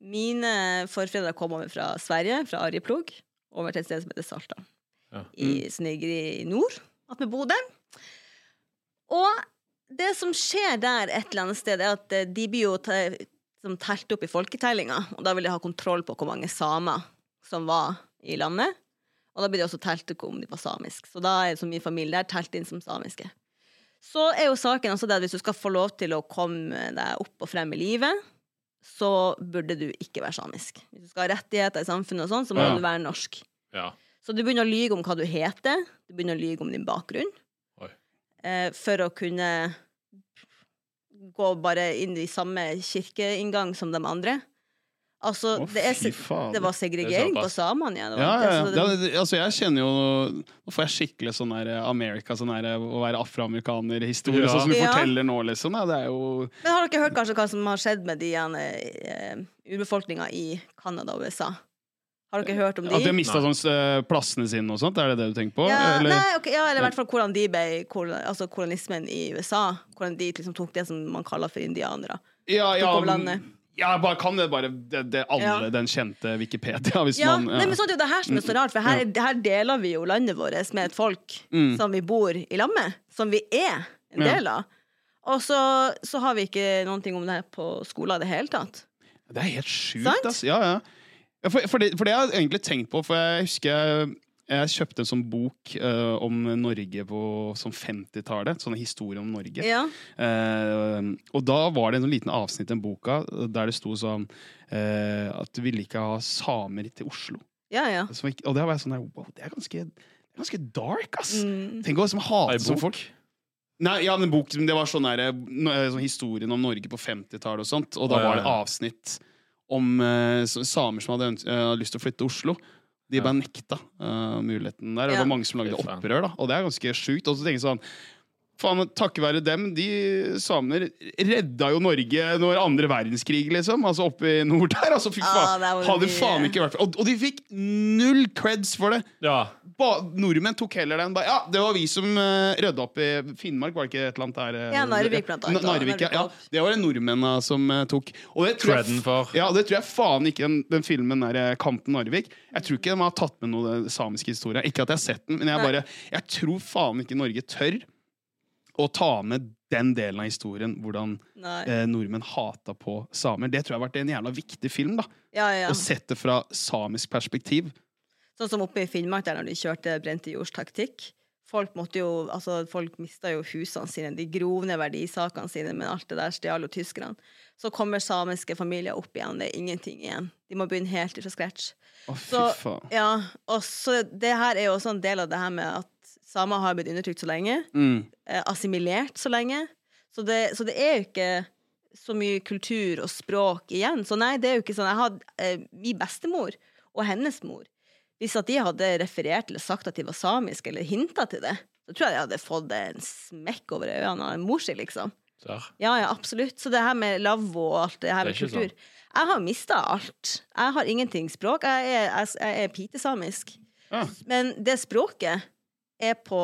[SPEAKER 4] mine forfedre kom over fra Sverige, fra Arjeplog, over til et sted som heter Salta,
[SPEAKER 2] Ja. Mm.
[SPEAKER 4] i Snøgri i nord, at med Bodø. Og det som skjer der et eller annet sted, er at eh, de blir jo te- som telt opp i folketellinga, og da vil de ha kontroll på hvor mange samer som var i landet. Og da blir det også telt om de var samisk. Så da er det så min familie der telt inn som samiske. Så er jo saken også det at hvis du skal få lov til å komme deg opp og frem i livet, så burde du ikke være samisk. Hvis du skal ha rettigheter i samfunnet og sånn, så må
[SPEAKER 2] Ja.
[SPEAKER 4] du være norsk.
[SPEAKER 2] Ja.
[SPEAKER 4] Så du begynner å lyge om hva du heter, du begynner å lyge om din bakgrunn,
[SPEAKER 2] Oi.
[SPEAKER 4] eh, for å kunne gå bare inn i samme kirkeinngang som de andre. Altså,
[SPEAKER 1] Å,
[SPEAKER 4] det, er,
[SPEAKER 1] fy
[SPEAKER 4] se-
[SPEAKER 1] faen.
[SPEAKER 4] det var segregering
[SPEAKER 2] Det er
[SPEAKER 4] på
[SPEAKER 2] såpass.
[SPEAKER 4] samene, ja. Det var,
[SPEAKER 1] Ja, ja, ja.
[SPEAKER 4] altså, det-
[SPEAKER 1] Det, det- altså, jeg kjenner jo Nå får jeg skikkelig sånn der America, sånn der å være afroamerikaner-historie,
[SPEAKER 2] Ja.
[SPEAKER 1] sånn som du
[SPEAKER 4] Ja.
[SPEAKER 1] forteller nå, liksom. Ja, det er jo
[SPEAKER 4] Men har dere hørt kanskje hva som har skjedd med de uh, urbefolkninga i Canada og USA? Har dere hørt om de?
[SPEAKER 1] At de har mista sånn, eh, plassene sine og sånt, er det det du tenker på? Eller-
[SPEAKER 4] ja, eller? Nei, ok, ja, eller i hvert fall hvordan de ble kolon- altså kolonismen i USA. Hvordan de liksom tok det som man kaller for indianere.
[SPEAKER 1] ja, ja,
[SPEAKER 4] over landet.
[SPEAKER 1] ja, bare, kan det bare det, det, alle
[SPEAKER 4] Ja.
[SPEAKER 1] den kjente Wikipedia, hvis
[SPEAKER 4] Ja,
[SPEAKER 1] man
[SPEAKER 4] Nei, men sånn er det jo det her som er så rart, for her, her deler vi jo landet vårt med et folk
[SPEAKER 1] Mm.
[SPEAKER 4] som vi bor i lag med, som vi er en
[SPEAKER 1] Ja.
[SPEAKER 4] del av. Og så, så har vi ikke noen ting om det her på skolen i det hele tatt.
[SPEAKER 1] Det er helt sjukt,
[SPEAKER 4] Sant?
[SPEAKER 1] ass. Ja, ja. Ja, For, for, det, for det har jeg egentlig tenkt på, for jeg husker jeg, jeg kjøpte en sånn bok eh, om Norge på sånn 50-tallet. Sånn historie om Norge.
[SPEAKER 4] Ja.
[SPEAKER 1] Eh, og da var det en sånn liten avsnitt i den boka der det sto sånn eh, at du ville ikke ha samer til Oslo.
[SPEAKER 4] Ja, ja.
[SPEAKER 1] Som ikke, og det var jeg sånn der, wow, det er ganske, det er ganske dark, ass!
[SPEAKER 4] Mm.
[SPEAKER 1] Tenk å liksom hate
[SPEAKER 2] Ei
[SPEAKER 1] som
[SPEAKER 2] bok?
[SPEAKER 1] folk. Nei, ja, men bok, men det var sånn der, eh, sånn historien om Norge på 50-tallet og sånt, og da
[SPEAKER 2] Å, ja,
[SPEAKER 1] var det
[SPEAKER 2] ja.
[SPEAKER 1] avsnitt om eh, s- samer som hadde øns- eh, hadde lyst til å flytte til Oslo. De
[SPEAKER 2] Ja.
[SPEAKER 1] bare nekta eh, muligheten der. og Det
[SPEAKER 4] Ja.
[SPEAKER 1] var mange som lagde
[SPEAKER 2] Fy faen.
[SPEAKER 1] opprør, da, og det er ganske sjukt. Og så tenker jeg sånn Faen, takket være dem, de samer redda jo Norge når andre verdenskrig, liksom. Altså oppe i nord der. Altså, fy
[SPEAKER 4] Ah,
[SPEAKER 1] faen.
[SPEAKER 4] det var
[SPEAKER 1] hadde
[SPEAKER 4] mye.
[SPEAKER 1] faen ikke vært for Og, og de fikk null creds for det!
[SPEAKER 2] Ja.
[SPEAKER 1] ba, nordmenn tok heller den. Ba, ja, det var vi som uh, rydda opp i Finnmark, var det ikke et eller annet der? eh,
[SPEAKER 4] Ja, Narvik blant annet,
[SPEAKER 1] Na-
[SPEAKER 4] da.
[SPEAKER 1] Narvik, ja,
[SPEAKER 4] Narvik
[SPEAKER 1] ja,
[SPEAKER 4] opp.
[SPEAKER 1] det var det nordmennene som eh, tok. Og det tror, jeg,
[SPEAKER 2] Creden for.
[SPEAKER 1] ja, det tror jeg faen ikke den, den filmen der, eh, Kampen Narvik Jeg tror ikke de har tatt med noe av den samiske historien. Ikke at jeg har sett den, men jeg,
[SPEAKER 4] Nei.
[SPEAKER 1] bare, jeg tror faen ikke Norge tør å ta med den delen av historien hvordan
[SPEAKER 4] Nei.
[SPEAKER 1] eh, nordmenn hata på samer. Det tror jeg har vært en jævla viktig film. da
[SPEAKER 4] Ja, ja.
[SPEAKER 1] Å sette fra samisk perspektiv.
[SPEAKER 4] Sånn som oppe i Finnmark, der når de kjørte brente jords taktikk. Folk, måtte jo, altså, folk mista jo husene sine, de grov ned verdisakene sine, men alt det der stjal jo tyskerne. Så kommer samiske familier opp igjen, det er ingenting igjen. De må begynne helt fra scratch.
[SPEAKER 1] Å, fy
[SPEAKER 4] Så,
[SPEAKER 1] faen.
[SPEAKER 4] ja, og så det her er jo også en del av det her med at samer har blitt undertrykt så lenge,
[SPEAKER 1] Mm.
[SPEAKER 4] eh, assimilert så lenge. Så det, så det er jo ikke så mye kultur og språk igjen. Så nei, det er jo ikke sånn. Jeg hadde eh, min bestemor og hennes mor. Hvis at de hadde referert eller sagt at de var samiske, eller hinta til det, så tror jeg de hadde fått en smekk over øynene av en mor si, liksom.
[SPEAKER 2] Der.
[SPEAKER 4] Ja, ja, absolutt. Så det her med lavvo og alt det her
[SPEAKER 2] Det
[SPEAKER 4] med
[SPEAKER 2] er ikke
[SPEAKER 4] kultur Jeg har mista alt. Jeg har ingenting språk. Jeg er, jeg, jeg er pitesamisk.
[SPEAKER 2] Ah.
[SPEAKER 1] Ja.
[SPEAKER 4] Men det språket er på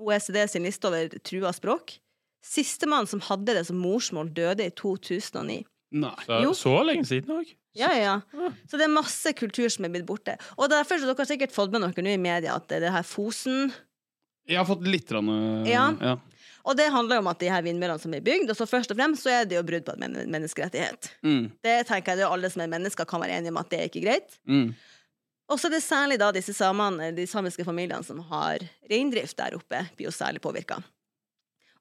[SPEAKER 4] OECD sin liste over trua språk. Sistemann som hadde det som morsmål, døde i 2009.
[SPEAKER 1] Nei.
[SPEAKER 2] Så,
[SPEAKER 4] Jo.
[SPEAKER 2] så lenge siden òg?
[SPEAKER 4] Ja, ja. ja.
[SPEAKER 2] Ah.
[SPEAKER 4] Så det er masse kultur som er blitt borte. Og derfor så dere har sikkert fått med dere nå i media at det er det her Fosen
[SPEAKER 1] Jeg har fått litt rann, øh,
[SPEAKER 4] Ja.
[SPEAKER 1] Ja.
[SPEAKER 4] Og det handler jo om at de her vindmøllene som er bygd, og så først og fremst så er det jo brudd på en men- menneskerettighet.
[SPEAKER 1] Mm,
[SPEAKER 4] Det tenker jeg det er alle som er mennesker kan være enige om at det er ikke greit.
[SPEAKER 1] mm.
[SPEAKER 4] Og så er det særlig da disse samene, de samiske familiene som har reindrift der oppe, blir jo særlig påvirka.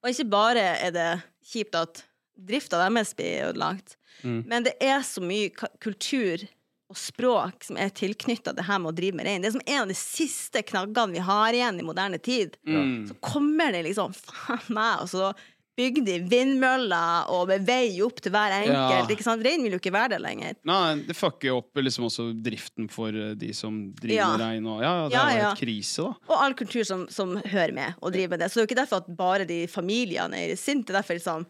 [SPEAKER 4] Og ikke bare er det kjipt at drifta deres blir ødelagt,
[SPEAKER 1] Mm.
[SPEAKER 4] men det er så mye ka- kultur og språk som er tilknytta det her med å drive med rein. Det er som en av de siste knaggene vi har igjen i moderne tid.
[SPEAKER 1] Mm.
[SPEAKER 4] Så kommer det liksom faen meg, og så bygger de vindmøller og med vei opp til hver
[SPEAKER 1] Ja.
[SPEAKER 4] enkelt. Ikke sant? Reinen vil jo ikke være der lenger.
[SPEAKER 1] Nei, det fucker jo opp liksom også driften for øh, de som driver
[SPEAKER 4] Ja.
[SPEAKER 1] med rein. Og, ja, ja, det
[SPEAKER 4] Ja,
[SPEAKER 1] er jo
[SPEAKER 4] ja.
[SPEAKER 1] helt krise, da.
[SPEAKER 4] Og all kultur som, som hører med og driver med det. Så det er jo ikke derfor at bare de familiene er sinte. Det er derfor liksom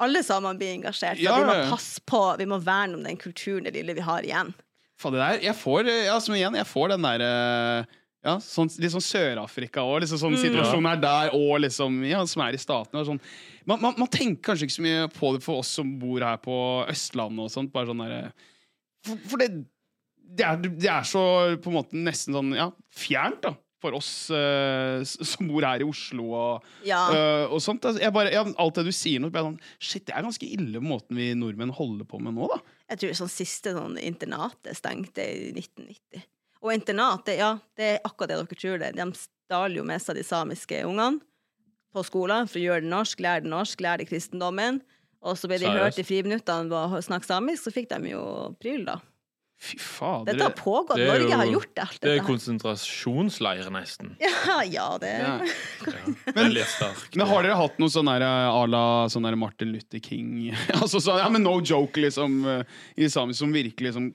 [SPEAKER 4] alle sammen blir engasjert. For
[SPEAKER 1] Ja,
[SPEAKER 4] vi
[SPEAKER 1] ja, ja.
[SPEAKER 4] må passe på, vi må verne om den kulturen det lille vi har igjen.
[SPEAKER 1] eh, Faen, det der, jeg får, øh, ja, som igjen, jeg får den der øh, Ja, sånn, litt sånn Sør-Afrika òg. Liksom sånn situasjonen er der, og liksom, ja, som er i statene. og Sånn. Man, man, man tenker kanskje ikke så mye på det for oss som bor her på Østlandet og sånt. Bare sånn der, for, for det, det, er, det er så på en måte nesten sånn ja, fjernt, da. For oss eh, s- som bor her i Oslo og,
[SPEAKER 4] Ja.
[SPEAKER 1] eh, og sånt. Altså, jeg bare, ja, alt det du sier nå, blir jeg sånn Shit, det er ganske ille måten vi nordmenn holder på med nå, da.
[SPEAKER 4] Jeg tror sånn siste sånn internatet stengte i 1990. Og internat, det, ja, det er akkurat det dere tror det. De stal jo med seg de samiske ungene på skolen for å gjøre det norsk, lære det norsk, lære det kristendommen. Og så ble de
[SPEAKER 2] Seriøst?
[SPEAKER 4] hørt i friminuttene ved å snakke samisk, så fikk de jo pryl, da.
[SPEAKER 1] Fy fader.
[SPEAKER 4] Dette har pågått.
[SPEAKER 2] det er jo-
[SPEAKER 4] Norge har gjort alt
[SPEAKER 2] Det er
[SPEAKER 4] dette. her.
[SPEAKER 2] konsentrasjonsleir, nesten.
[SPEAKER 4] Ja, ja, det
[SPEAKER 1] Ja.
[SPEAKER 2] Men, Veldig sterkt.
[SPEAKER 1] Men har dere hatt noe sånn der eh, à la sånn der Martin Luther King Altså sånn, ja, men No joke, liksom, eh, i samisk som virkelig liksom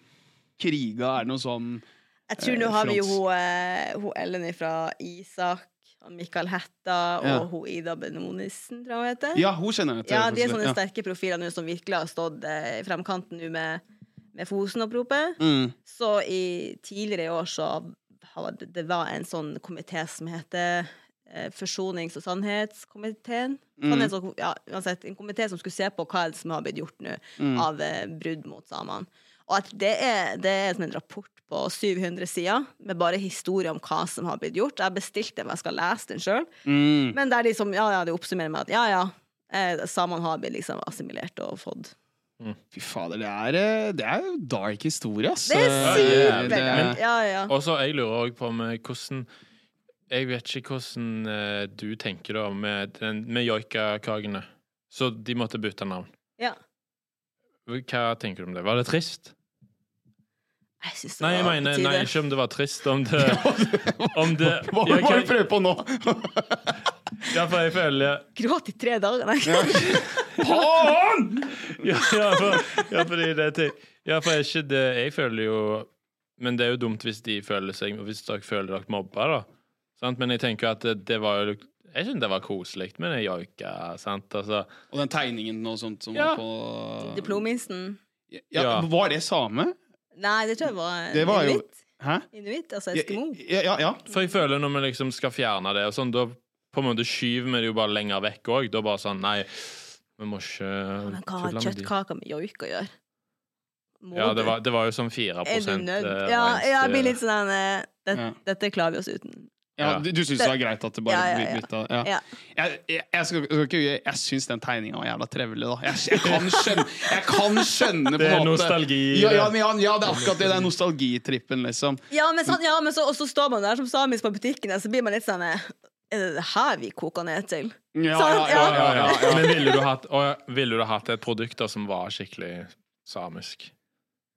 [SPEAKER 1] kriga? Er det noe sånn
[SPEAKER 4] Jeg tror nå
[SPEAKER 1] Eh,
[SPEAKER 4] har vi jo
[SPEAKER 1] Frans.
[SPEAKER 4] hun, eh, hun Ellen fra Isak, han Mikael Hætta og
[SPEAKER 1] Ja.
[SPEAKER 4] hun Ida Benonissen, tror jeg hun heter.
[SPEAKER 1] Ja, hun kjenner jeg til.
[SPEAKER 4] Ja, de er
[SPEAKER 1] for å si
[SPEAKER 4] sånne
[SPEAKER 1] det.
[SPEAKER 4] sterke profiler nå som virkelig har stått eh, i fremkanten nå med, med Fosen-oppropet.
[SPEAKER 1] Ja. Mm.
[SPEAKER 4] Så i tidligere i år så har det- det var en sånn komité som heter eh, Forsonings- og sannhetskomiteen. Sånn Sannhets og, ja, uansett, en komité som skulle se på hva er det som har blitt gjort nå av eh, brudd mot samene. Og at det er, det er som en rapport på 700 sider med bare historie om hva som har blitt gjort. Jeg bestilte den, men jeg skal lese den sjøl.
[SPEAKER 1] Mm.
[SPEAKER 4] Men der de som, ja, ja, det oppsummerer med at ja, ja, eh, samene har blitt liksom assimilert og fått
[SPEAKER 1] Fy fader, det er, eh, det er jo dark historie, ass.
[SPEAKER 4] Det er
[SPEAKER 1] Eh, det
[SPEAKER 4] supert!
[SPEAKER 1] er-
[SPEAKER 4] Ja, ja.
[SPEAKER 2] Og så jeg lurer òg på med hvordan Jeg vet ikke hvordan eh, du tenker da med, den- med joikakakene. Så de måtte bytte navn.
[SPEAKER 4] ja.
[SPEAKER 2] Hva tenker du om det? Var det trist?
[SPEAKER 4] Jeg syns det
[SPEAKER 2] Nei, jeg
[SPEAKER 4] var
[SPEAKER 2] mener
[SPEAKER 4] på tide.
[SPEAKER 2] nei, ikke om det var trist. Om det, om det
[SPEAKER 1] Hva hva er det
[SPEAKER 2] ja,
[SPEAKER 1] du
[SPEAKER 2] hva-
[SPEAKER 1] prøver på nå?
[SPEAKER 2] ja, for jeg føler
[SPEAKER 4] Gråt i tre dager, nei.
[SPEAKER 1] Faen!
[SPEAKER 2] ja, ja, for, ja, fordi det er ting Ja, for jeg, er ikke det, jeg føler jo Men det er jo dumt hvis de føler seg Hvis dere føler dere mobba, da. Sant? Men jeg tenker at det, det var jo Jeg synes det var koselig med den joika, sant? Altså,
[SPEAKER 1] Og den tegningen og sånt som
[SPEAKER 2] Ja.
[SPEAKER 1] var på
[SPEAKER 4] Diplominsen.
[SPEAKER 1] ja,
[SPEAKER 2] Ja.
[SPEAKER 1] Var det same?
[SPEAKER 4] Nei, det tror jeg var,
[SPEAKER 1] Det var jo
[SPEAKER 4] inuitt.
[SPEAKER 1] Hæ?
[SPEAKER 4] Inuitt, altså
[SPEAKER 1] Ja,
[SPEAKER 4] eskimo.
[SPEAKER 1] ja, ja, ja.
[SPEAKER 2] For jeg føler når vi liksom skal fjerne det, og sånn, da på en måte skyver vi det jo bare lenger vekk òg. Da bare sånn Nei, vi må ikke
[SPEAKER 4] Men hva har
[SPEAKER 2] tulle med de.
[SPEAKER 4] kjøttkaker med joik å gjøre? Må
[SPEAKER 2] Ja, det
[SPEAKER 4] du?
[SPEAKER 2] var, det var jo sånn 4
[SPEAKER 4] Er du nødt?
[SPEAKER 2] eh,
[SPEAKER 4] Ja,
[SPEAKER 2] reins-
[SPEAKER 4] ja, jeg blir litt sånn eh, det,
[SPEAKER 1] Ja.
[SPEAKER 4] Dette klarer vi oss uten.
[SPEAKER 1] Ja,
[SPEAKER 2] Ja.
[SPEAKER 1] du, du syns det var greit at det bare
[SPEAKER 4] Ja, ja,
[SPEAKER 1] blir
[SPEAKER 4] ja.
[SPEAKER 1] bytta? Ja.
[SPEAKER 4] Ja.
[SPEAKER 1] Jeg, jeg, jeg, skal, skal ikke, jeg, jeg syns den tegninga var jævla trevelig, da. Jeg, jeg, kan, skjønne, jeg kan skjønne på
[SPEAKER 2] Det er
[SPEAKER 1] en måte-
[SPEAKER 2] nostalgi i
[SPEAKER 1] Ja,
[SPEAKER 2] det.
[SPEAKER 1] ja, men ja, ja, det er akkurat det. Det er nostalgitrippen, liksom.
[SPEAKER 4] Ja, men, sånn, ja, men så, og så står man der som samisk på butikken, og så blir man litt sånn eh, Er det det her vi koker ned til?
[SPEAKER 1] Ja,
[SPEAKER 4] Sant, Sånn, ja.
[SPEAKER 2] Ja, ja, ja. Men ville du, hatt, og, ville du hatt et produkt da som var skikkelig samisk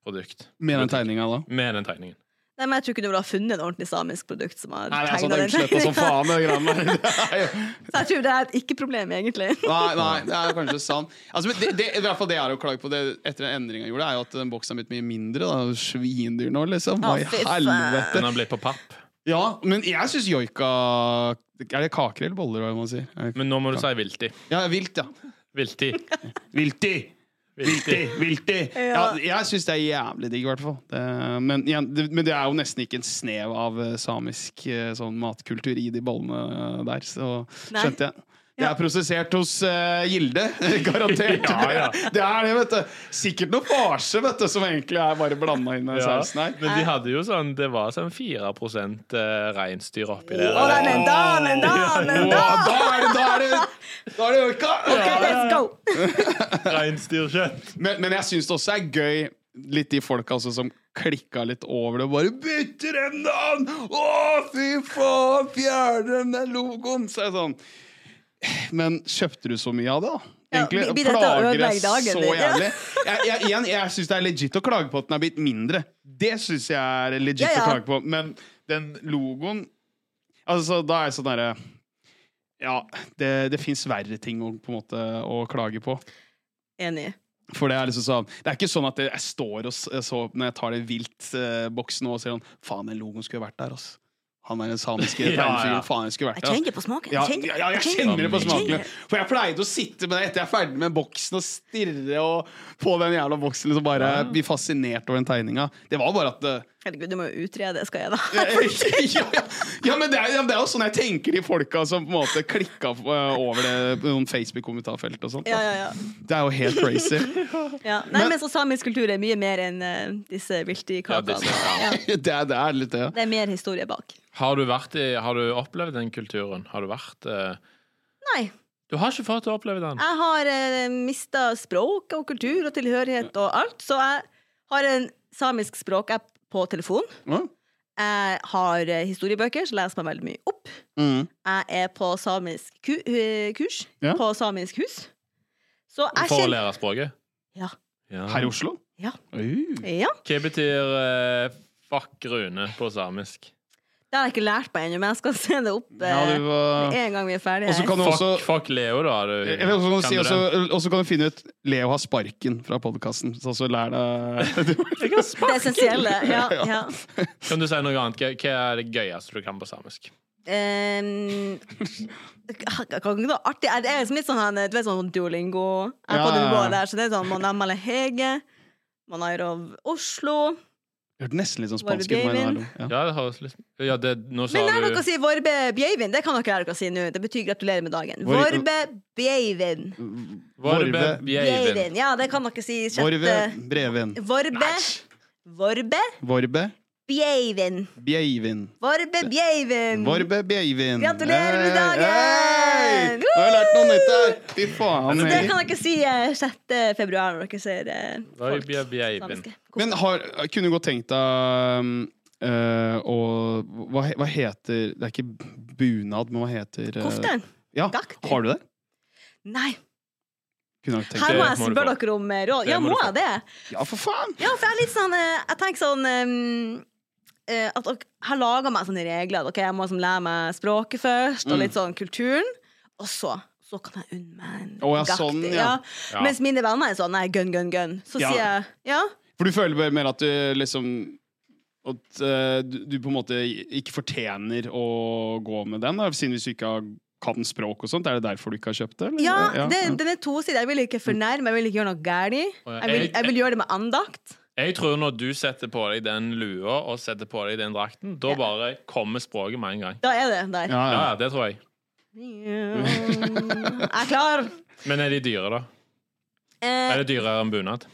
[SPEAKER 2] produkt?
[SPEAKER 1] Med den tegninga, da.
[SPEAKER 2] Med den tegningen.
[SPEAKER 4] Nei, men Jeg tror ikke du ville ha funnet et ordentlig samisk produkt som har
[SPEAKER 1] Nei, det er sånn
[SPEAKER 4] tegna
[SPEAKER 1] det er
[SPEAKER 4] den
[SPEAKER 1] utsletta som
[SPEAKER 4] tegninga.
[SPEAKER 1] faen. Det greiene der. Det er jo-
[SPEAKER 4] Så jeg tror det er et ikke-problem, egentlig.
[SPEAKER 1] Nei, nei, det er kanskje sant. Altså, men det, det, i hvert fall det jeg har å klage på det, etter den endringa jeg gjorde, er jo at den boksen er blitt mye mindre. Da. Svindyr nå, liksom. Hva
[SPEAKER 4] Å,
[SPEAKER 1] i
[SPEAKER 4] fy faen.
[SPEAKER 1] helvete?
[SPEAKER 2] Den har blitt på papp.
[SPEAKER 1] Ja, men jeg syns joika Er det kaker eller boller, hva man sier? Er det-
[SPEAKER 2] Men nå må du si vilti.
[SPEAKER 1] Ja, vilt, ja.
[SPEAKER 2] Vilti.
[SPEAKER 1] Vilti!
[SPEAKER 2] Vilti.
[SPEAKER 1] Vilti! Ja, jeg syns det er jævlig digg, i hvert fall. Det, men, igjen, det, men det er jo nesten ikke en snev av eh, samisk eh, sånn matkultur i de bollene eh, der, så
[SPEAKER 4] Nei.
[SPEAKER 1] skjønte jeg. Det er prosessert hos eh, Gilde, garantert.
[SPEAKER 2] Ja, ja.
[SPEAKER 1] Det er det, vet du. Sikkert noe farse, vet du, som egentlig er bare blanda inn i
[SPEAKER 2] Ja.
[SPEAKER 1] sausen her.
[SPEAKER 2] Men de hadde jo sånn Det var sånn 4 eh, reinsdyr oppi
[SPEAKER 4] Å, nei,
[SPEAKER 2] der.
[SPEAKER 4] men da, men da, men
[SPEAKER 1] Å,
[SPEAKER 4] da!
[SPEAKER 1] da er det da er det, da er det orka!
[SPEAKER 4] Ok, let's go!
[SPEAKER 2] Reinsdyrkjøtt.
[SPEAKER 1] Men, men jeg syns det også er gøy Litt de folka altså, som klikka litt over det og bare 'Bytter en navn! Å, fy faen! Fjerne den der logoen!' Så er jeg sånn Men kjøpte du så mye av det, da?
[SPEAKER 4] Ja,
[SPEAKER 1] Egentlig
[SPEAKER 4] blir- blir dette å
[SPEAKER 1] plager
[SPEAKER 4] ødelegge
[SPEAKER 1] det så
[SPEAKER 4] dagen din? Ja.
[SPEAKER 1] jævlig. Jeg, jeg, igjen, jeg syns det er legit å klage på at den er blitt mindre. Det syns jeg er legit
[SPEAKER 4] Ja, ja.
[SPEAKER 1] å klage på. Men den logoen Altså, da er jeg sånn derre Ja, det, det fins verre ting å, på en måte, å klage på.
[SPEAKER 4] Enig.
[SPEAKER 1] For det er liksom sånn Det er ikke sånn at jeg står og s- så når jeg tar det vilt-boksen og ser sånn Faen, den logoen skulle vært der, altså. Han er den samiske
[SPEAKER 2] Ja, ja.
[SPEAKER 1] tegnefiguren. Faen, den skulle vært
[SPEAKER 5] Jeg
[SPEAKER 1] der. ass.
[SPEAKER 5] kjenner på smaken.
[SPEAKER 1] Ja,
[SPEAKER 5] Jeg kjenner,
[SPEAKER 1] ja, jeg kjenner det på
[SPEAKER 2] Jeg
[SPEAKER 1] smaken.
[SPEAKER 5] kjenner-
[SPEAKER 1] For jeg pleide å sitte med det etter jeg er ferdig med boksen og stirre og på den jævla boksen liksom bare bli fascinert over den tegninga. Det var bare at eh,
[SPEAKER 4] Herregud, det må jo utrede, skal jeg da?
[SPEAKER 1] ja, ja. ja, men det er, ja, men det er jo sånn jeg tenker de folka som på en måte klikka eh, over det på noen Facebook-kommentarfelt og sånt.
[SPEAKER 4] Ja,
[SPEAKER 1] da.
[SPEAKER 4] ja, ja.
[SPEAKER 1] Det er jo helt crazy.
[SPEAKER 4] ja. Nei, men så samisk kultur er mye mer enn eh, disse viltdyrkakene.
[SPEAKER 2] Ja, disse,
[SPEAKER 4] Ja,
[SPEAKER 1] Det er, det er litt det.
[SPEAKER 4] det er mer historie bak.
[SPEAKER 2] Har du, vært i, har du opplevd den kulturen? Har du vært eh,
[SPEAKER 4] Nei.
[SPEAKER 2] Du har ikke fått oppleve den?
[SPEAKER 4] Jeg har eh, mista språk og kultur og tilhørighet og alt, så jeg har en samisk språkapp på telefon.
[SPEAKER 1] Ja.
[SPEAKER 4] Jeg har eh, historiebøker, så leser meg veldig mye opp.
[SPEAKER 1] Mm.
[SPEAKER 4] Jeg er på samisk ku eh, kurs
[SPEAKER 1] Ja.
[SPEAKER 4] på samisk hus. Så jeg
[SPEAKER 2] For å
[SPEAKER 4] kjenner
[SPEAKER 2] lære språket?
[SPEAKER 4] Ja.
[SPEAKER 2] Ja.
[SPEAKER 1] Her i Oslo?
[SPEAKER 4] Ja.
[SPEAKER 1] Uh.
[SPEAKER 4] ja.
[SPEAKER 2] Hva betyr eh, 'fuck Rune' på samisk?
[SPEAKER 4] Det har jeg ikke lært meg ennå, men jeg skal se det opp eh,
[SPEAKER 1] Ja, du var
[SPEAKER 4] en gang vi er ferdige
[SPEAKER 1] Og så
[SPEAKER 4] her.
[SPEAKER 1] kan du
[SPEAKER 2] Fuck,
[SPEAKER 1] også
[SPEAKER 2] fuck Leo, da. Du,
[SPEAKER 1] Jeg vil også si
[SPEAKER 2] du
[SPEAKER 1] også,
[SPEAKER 2] den?
[SPEAKER 1] også kan du finne ut Leo har sparken fra podkasten, så så lær deg
[SPEAKER 4] Det essensielle. Ja, ja.
[SPEAKER 2] Kan du si noe annet? Hva, hva er det gøyeste du kan på samisk?
[SPEAKER 4] Um, kan ikke det være artig? Jeg er liksom litt sånn her, Du vet sånn duolingo Jeg er på
[SPEAKER 1] Ja, ja, ja.
[SPEAKER 4] nivået der, så det er sånn Manamale Hege, Manairov Oslo
[SPEAKER 1] Hørte nesten litt sånn
[SPEAKER 4] Var det
[SPEAKER 1] spansk ut. men
[SPEAKER 4] Damien?
[SPEAKER 1] hallo. Ja.
[SPEAKER 2] Ja, det høres litt Ja, det, nå sa
[SPEAKER 4] Men lær
[SPEAKER 2] du
[SPEAKER 4] dere å si Vorbe Bjeivin. Det kan dere lære dere å si nå. Det betyr gratulerer med dagen.
[SPEAKER 1] Vor-
[SPEAKER 4] Vorbe Bjeivin.
[SPEAKER 2] Vorbe
[SPEAKER 1] Vorbe-
[SPEAKER 2] Bjeivin.
[SPEAKER 4] Bjeivin. Ja, det kan dere si.
[SPEAKER 1] Vorve
[SPEAKER 4] Sjette
[SPEAKER 1] Brevin.
[SPEAKER 4] Vorbe. Vorbe
[SPEAKER 1] Vorbe
[SPEAKER 4] Bjeivin.
[SPEAKER 1] Bjeivin.
[SPEAKER 4] Vorbe Bjeivin.
[SPEAKER 1] Vorbe Bjeivin.
[SPEAKER 4] Gratulerer med dagen!
[SPEAKER 1] Hey! Nå har jeg lært noe nytt her! Fy faen. altså.
[SPEAKER 4] Så det
[SPEAKER 1] Erik.
[SPEAKER 4] kan dere si eh, 6. februar når dere ser eh, folk
[SPEAKER 2] Vorbe Bjeivin.
[SPEAKER 4] samiske.
[SPEAKER 1] Men har, kunne du godt tenkt deg um, eh, å hva, he- hva heter Det er ikke bunad, men hva heter eh,
[SPEAKER 4] Kofte?
[SPEAKER 1] Ja.
[SPEAKER 4] Gakti.
[SPEAKER 1] Har du det?
[SPEAKER 4] Nei.
[SPEAKER 1] Kunne du tenkt
[SPEAKER 4] Her
[SPEAKER 1] deg
[SPEAKER 4] må
[SPEAKER 2] Det
[SPEAKER 4] jeg
[SPEAKER 2] må du
[SPEAKER 4] spørre
[SPEAKER 2] få.
[SPEAKER 4] dere om eh, råd.
[SPEAKER 2] Det
[SPEAKER 4] Ja,
[SPEAKER 2] må du
[SPEAKER 4] må
[SPEAKER 2] få.
[SPEAKER 4] jeg det?
[SPEAKER 1] Ja, for faen!
[SPEAKER 4] Ja, for jeg er litt sånn eh, Jeg tenker sånn eh, eh, At dere har laga meg sånne regler. at, Ok, Jeg må liksom lære meg språket først, og litt sånn kulturen. Og så så kan jeg unne meg en
[SPEAKER 1] Å, ja,
[SPEAKER 4] gakti,
[SPEAKER 1] sånn, ja.
[SPEAKER 2] Ja.
[SPEAKER 4] Mens mine venner er sånn nei, gun, gun, gun. Så
[SPEAKER 1] Ja.
[SPEAKER 4] sier jeg ja.
[SPEAKER 1] For du føler bare mer at du liksom At eh, du, du på en måte ikke fortjener å gå med den, da, siden hvis du ikke har, kan språk og sånt. Er det derfor du ikke har kjøpt det? eller?
[SPEAKER 4] Ja,
[SPEAKER 1] Ja,
[SPEAKER 4] det,
[SPEAKER 1] ja.
[SPEAKER 4] den er tosidig. Jeg vil ikke fornærme, jeg vil ikke gjøre noe galt.
[SPEAKER 2] Å, ja.
[SPEAKER 4] Jeg, vil-
[SPEAKER 2] Jeg-
[SPEAKER 4] jeg vil gjøre det med andakt.
[SPEAKER 2] Jeg tror når du setter på deg den lua og setter på deg den drakten, da bare kommer språket med en gang.
[SPEAKER 4] Da er det der.
[SPEAKER 1] Ja, ja.
[SPEAKER 2] Ja, det tror jeg.
[SPEAKER 4] Jeg er klar.
[SPEAKER 2] Men er de dyre, da?
[SPEAKER 4] Eh,
[SPEAKER 2] Er det dyrere enn bunad?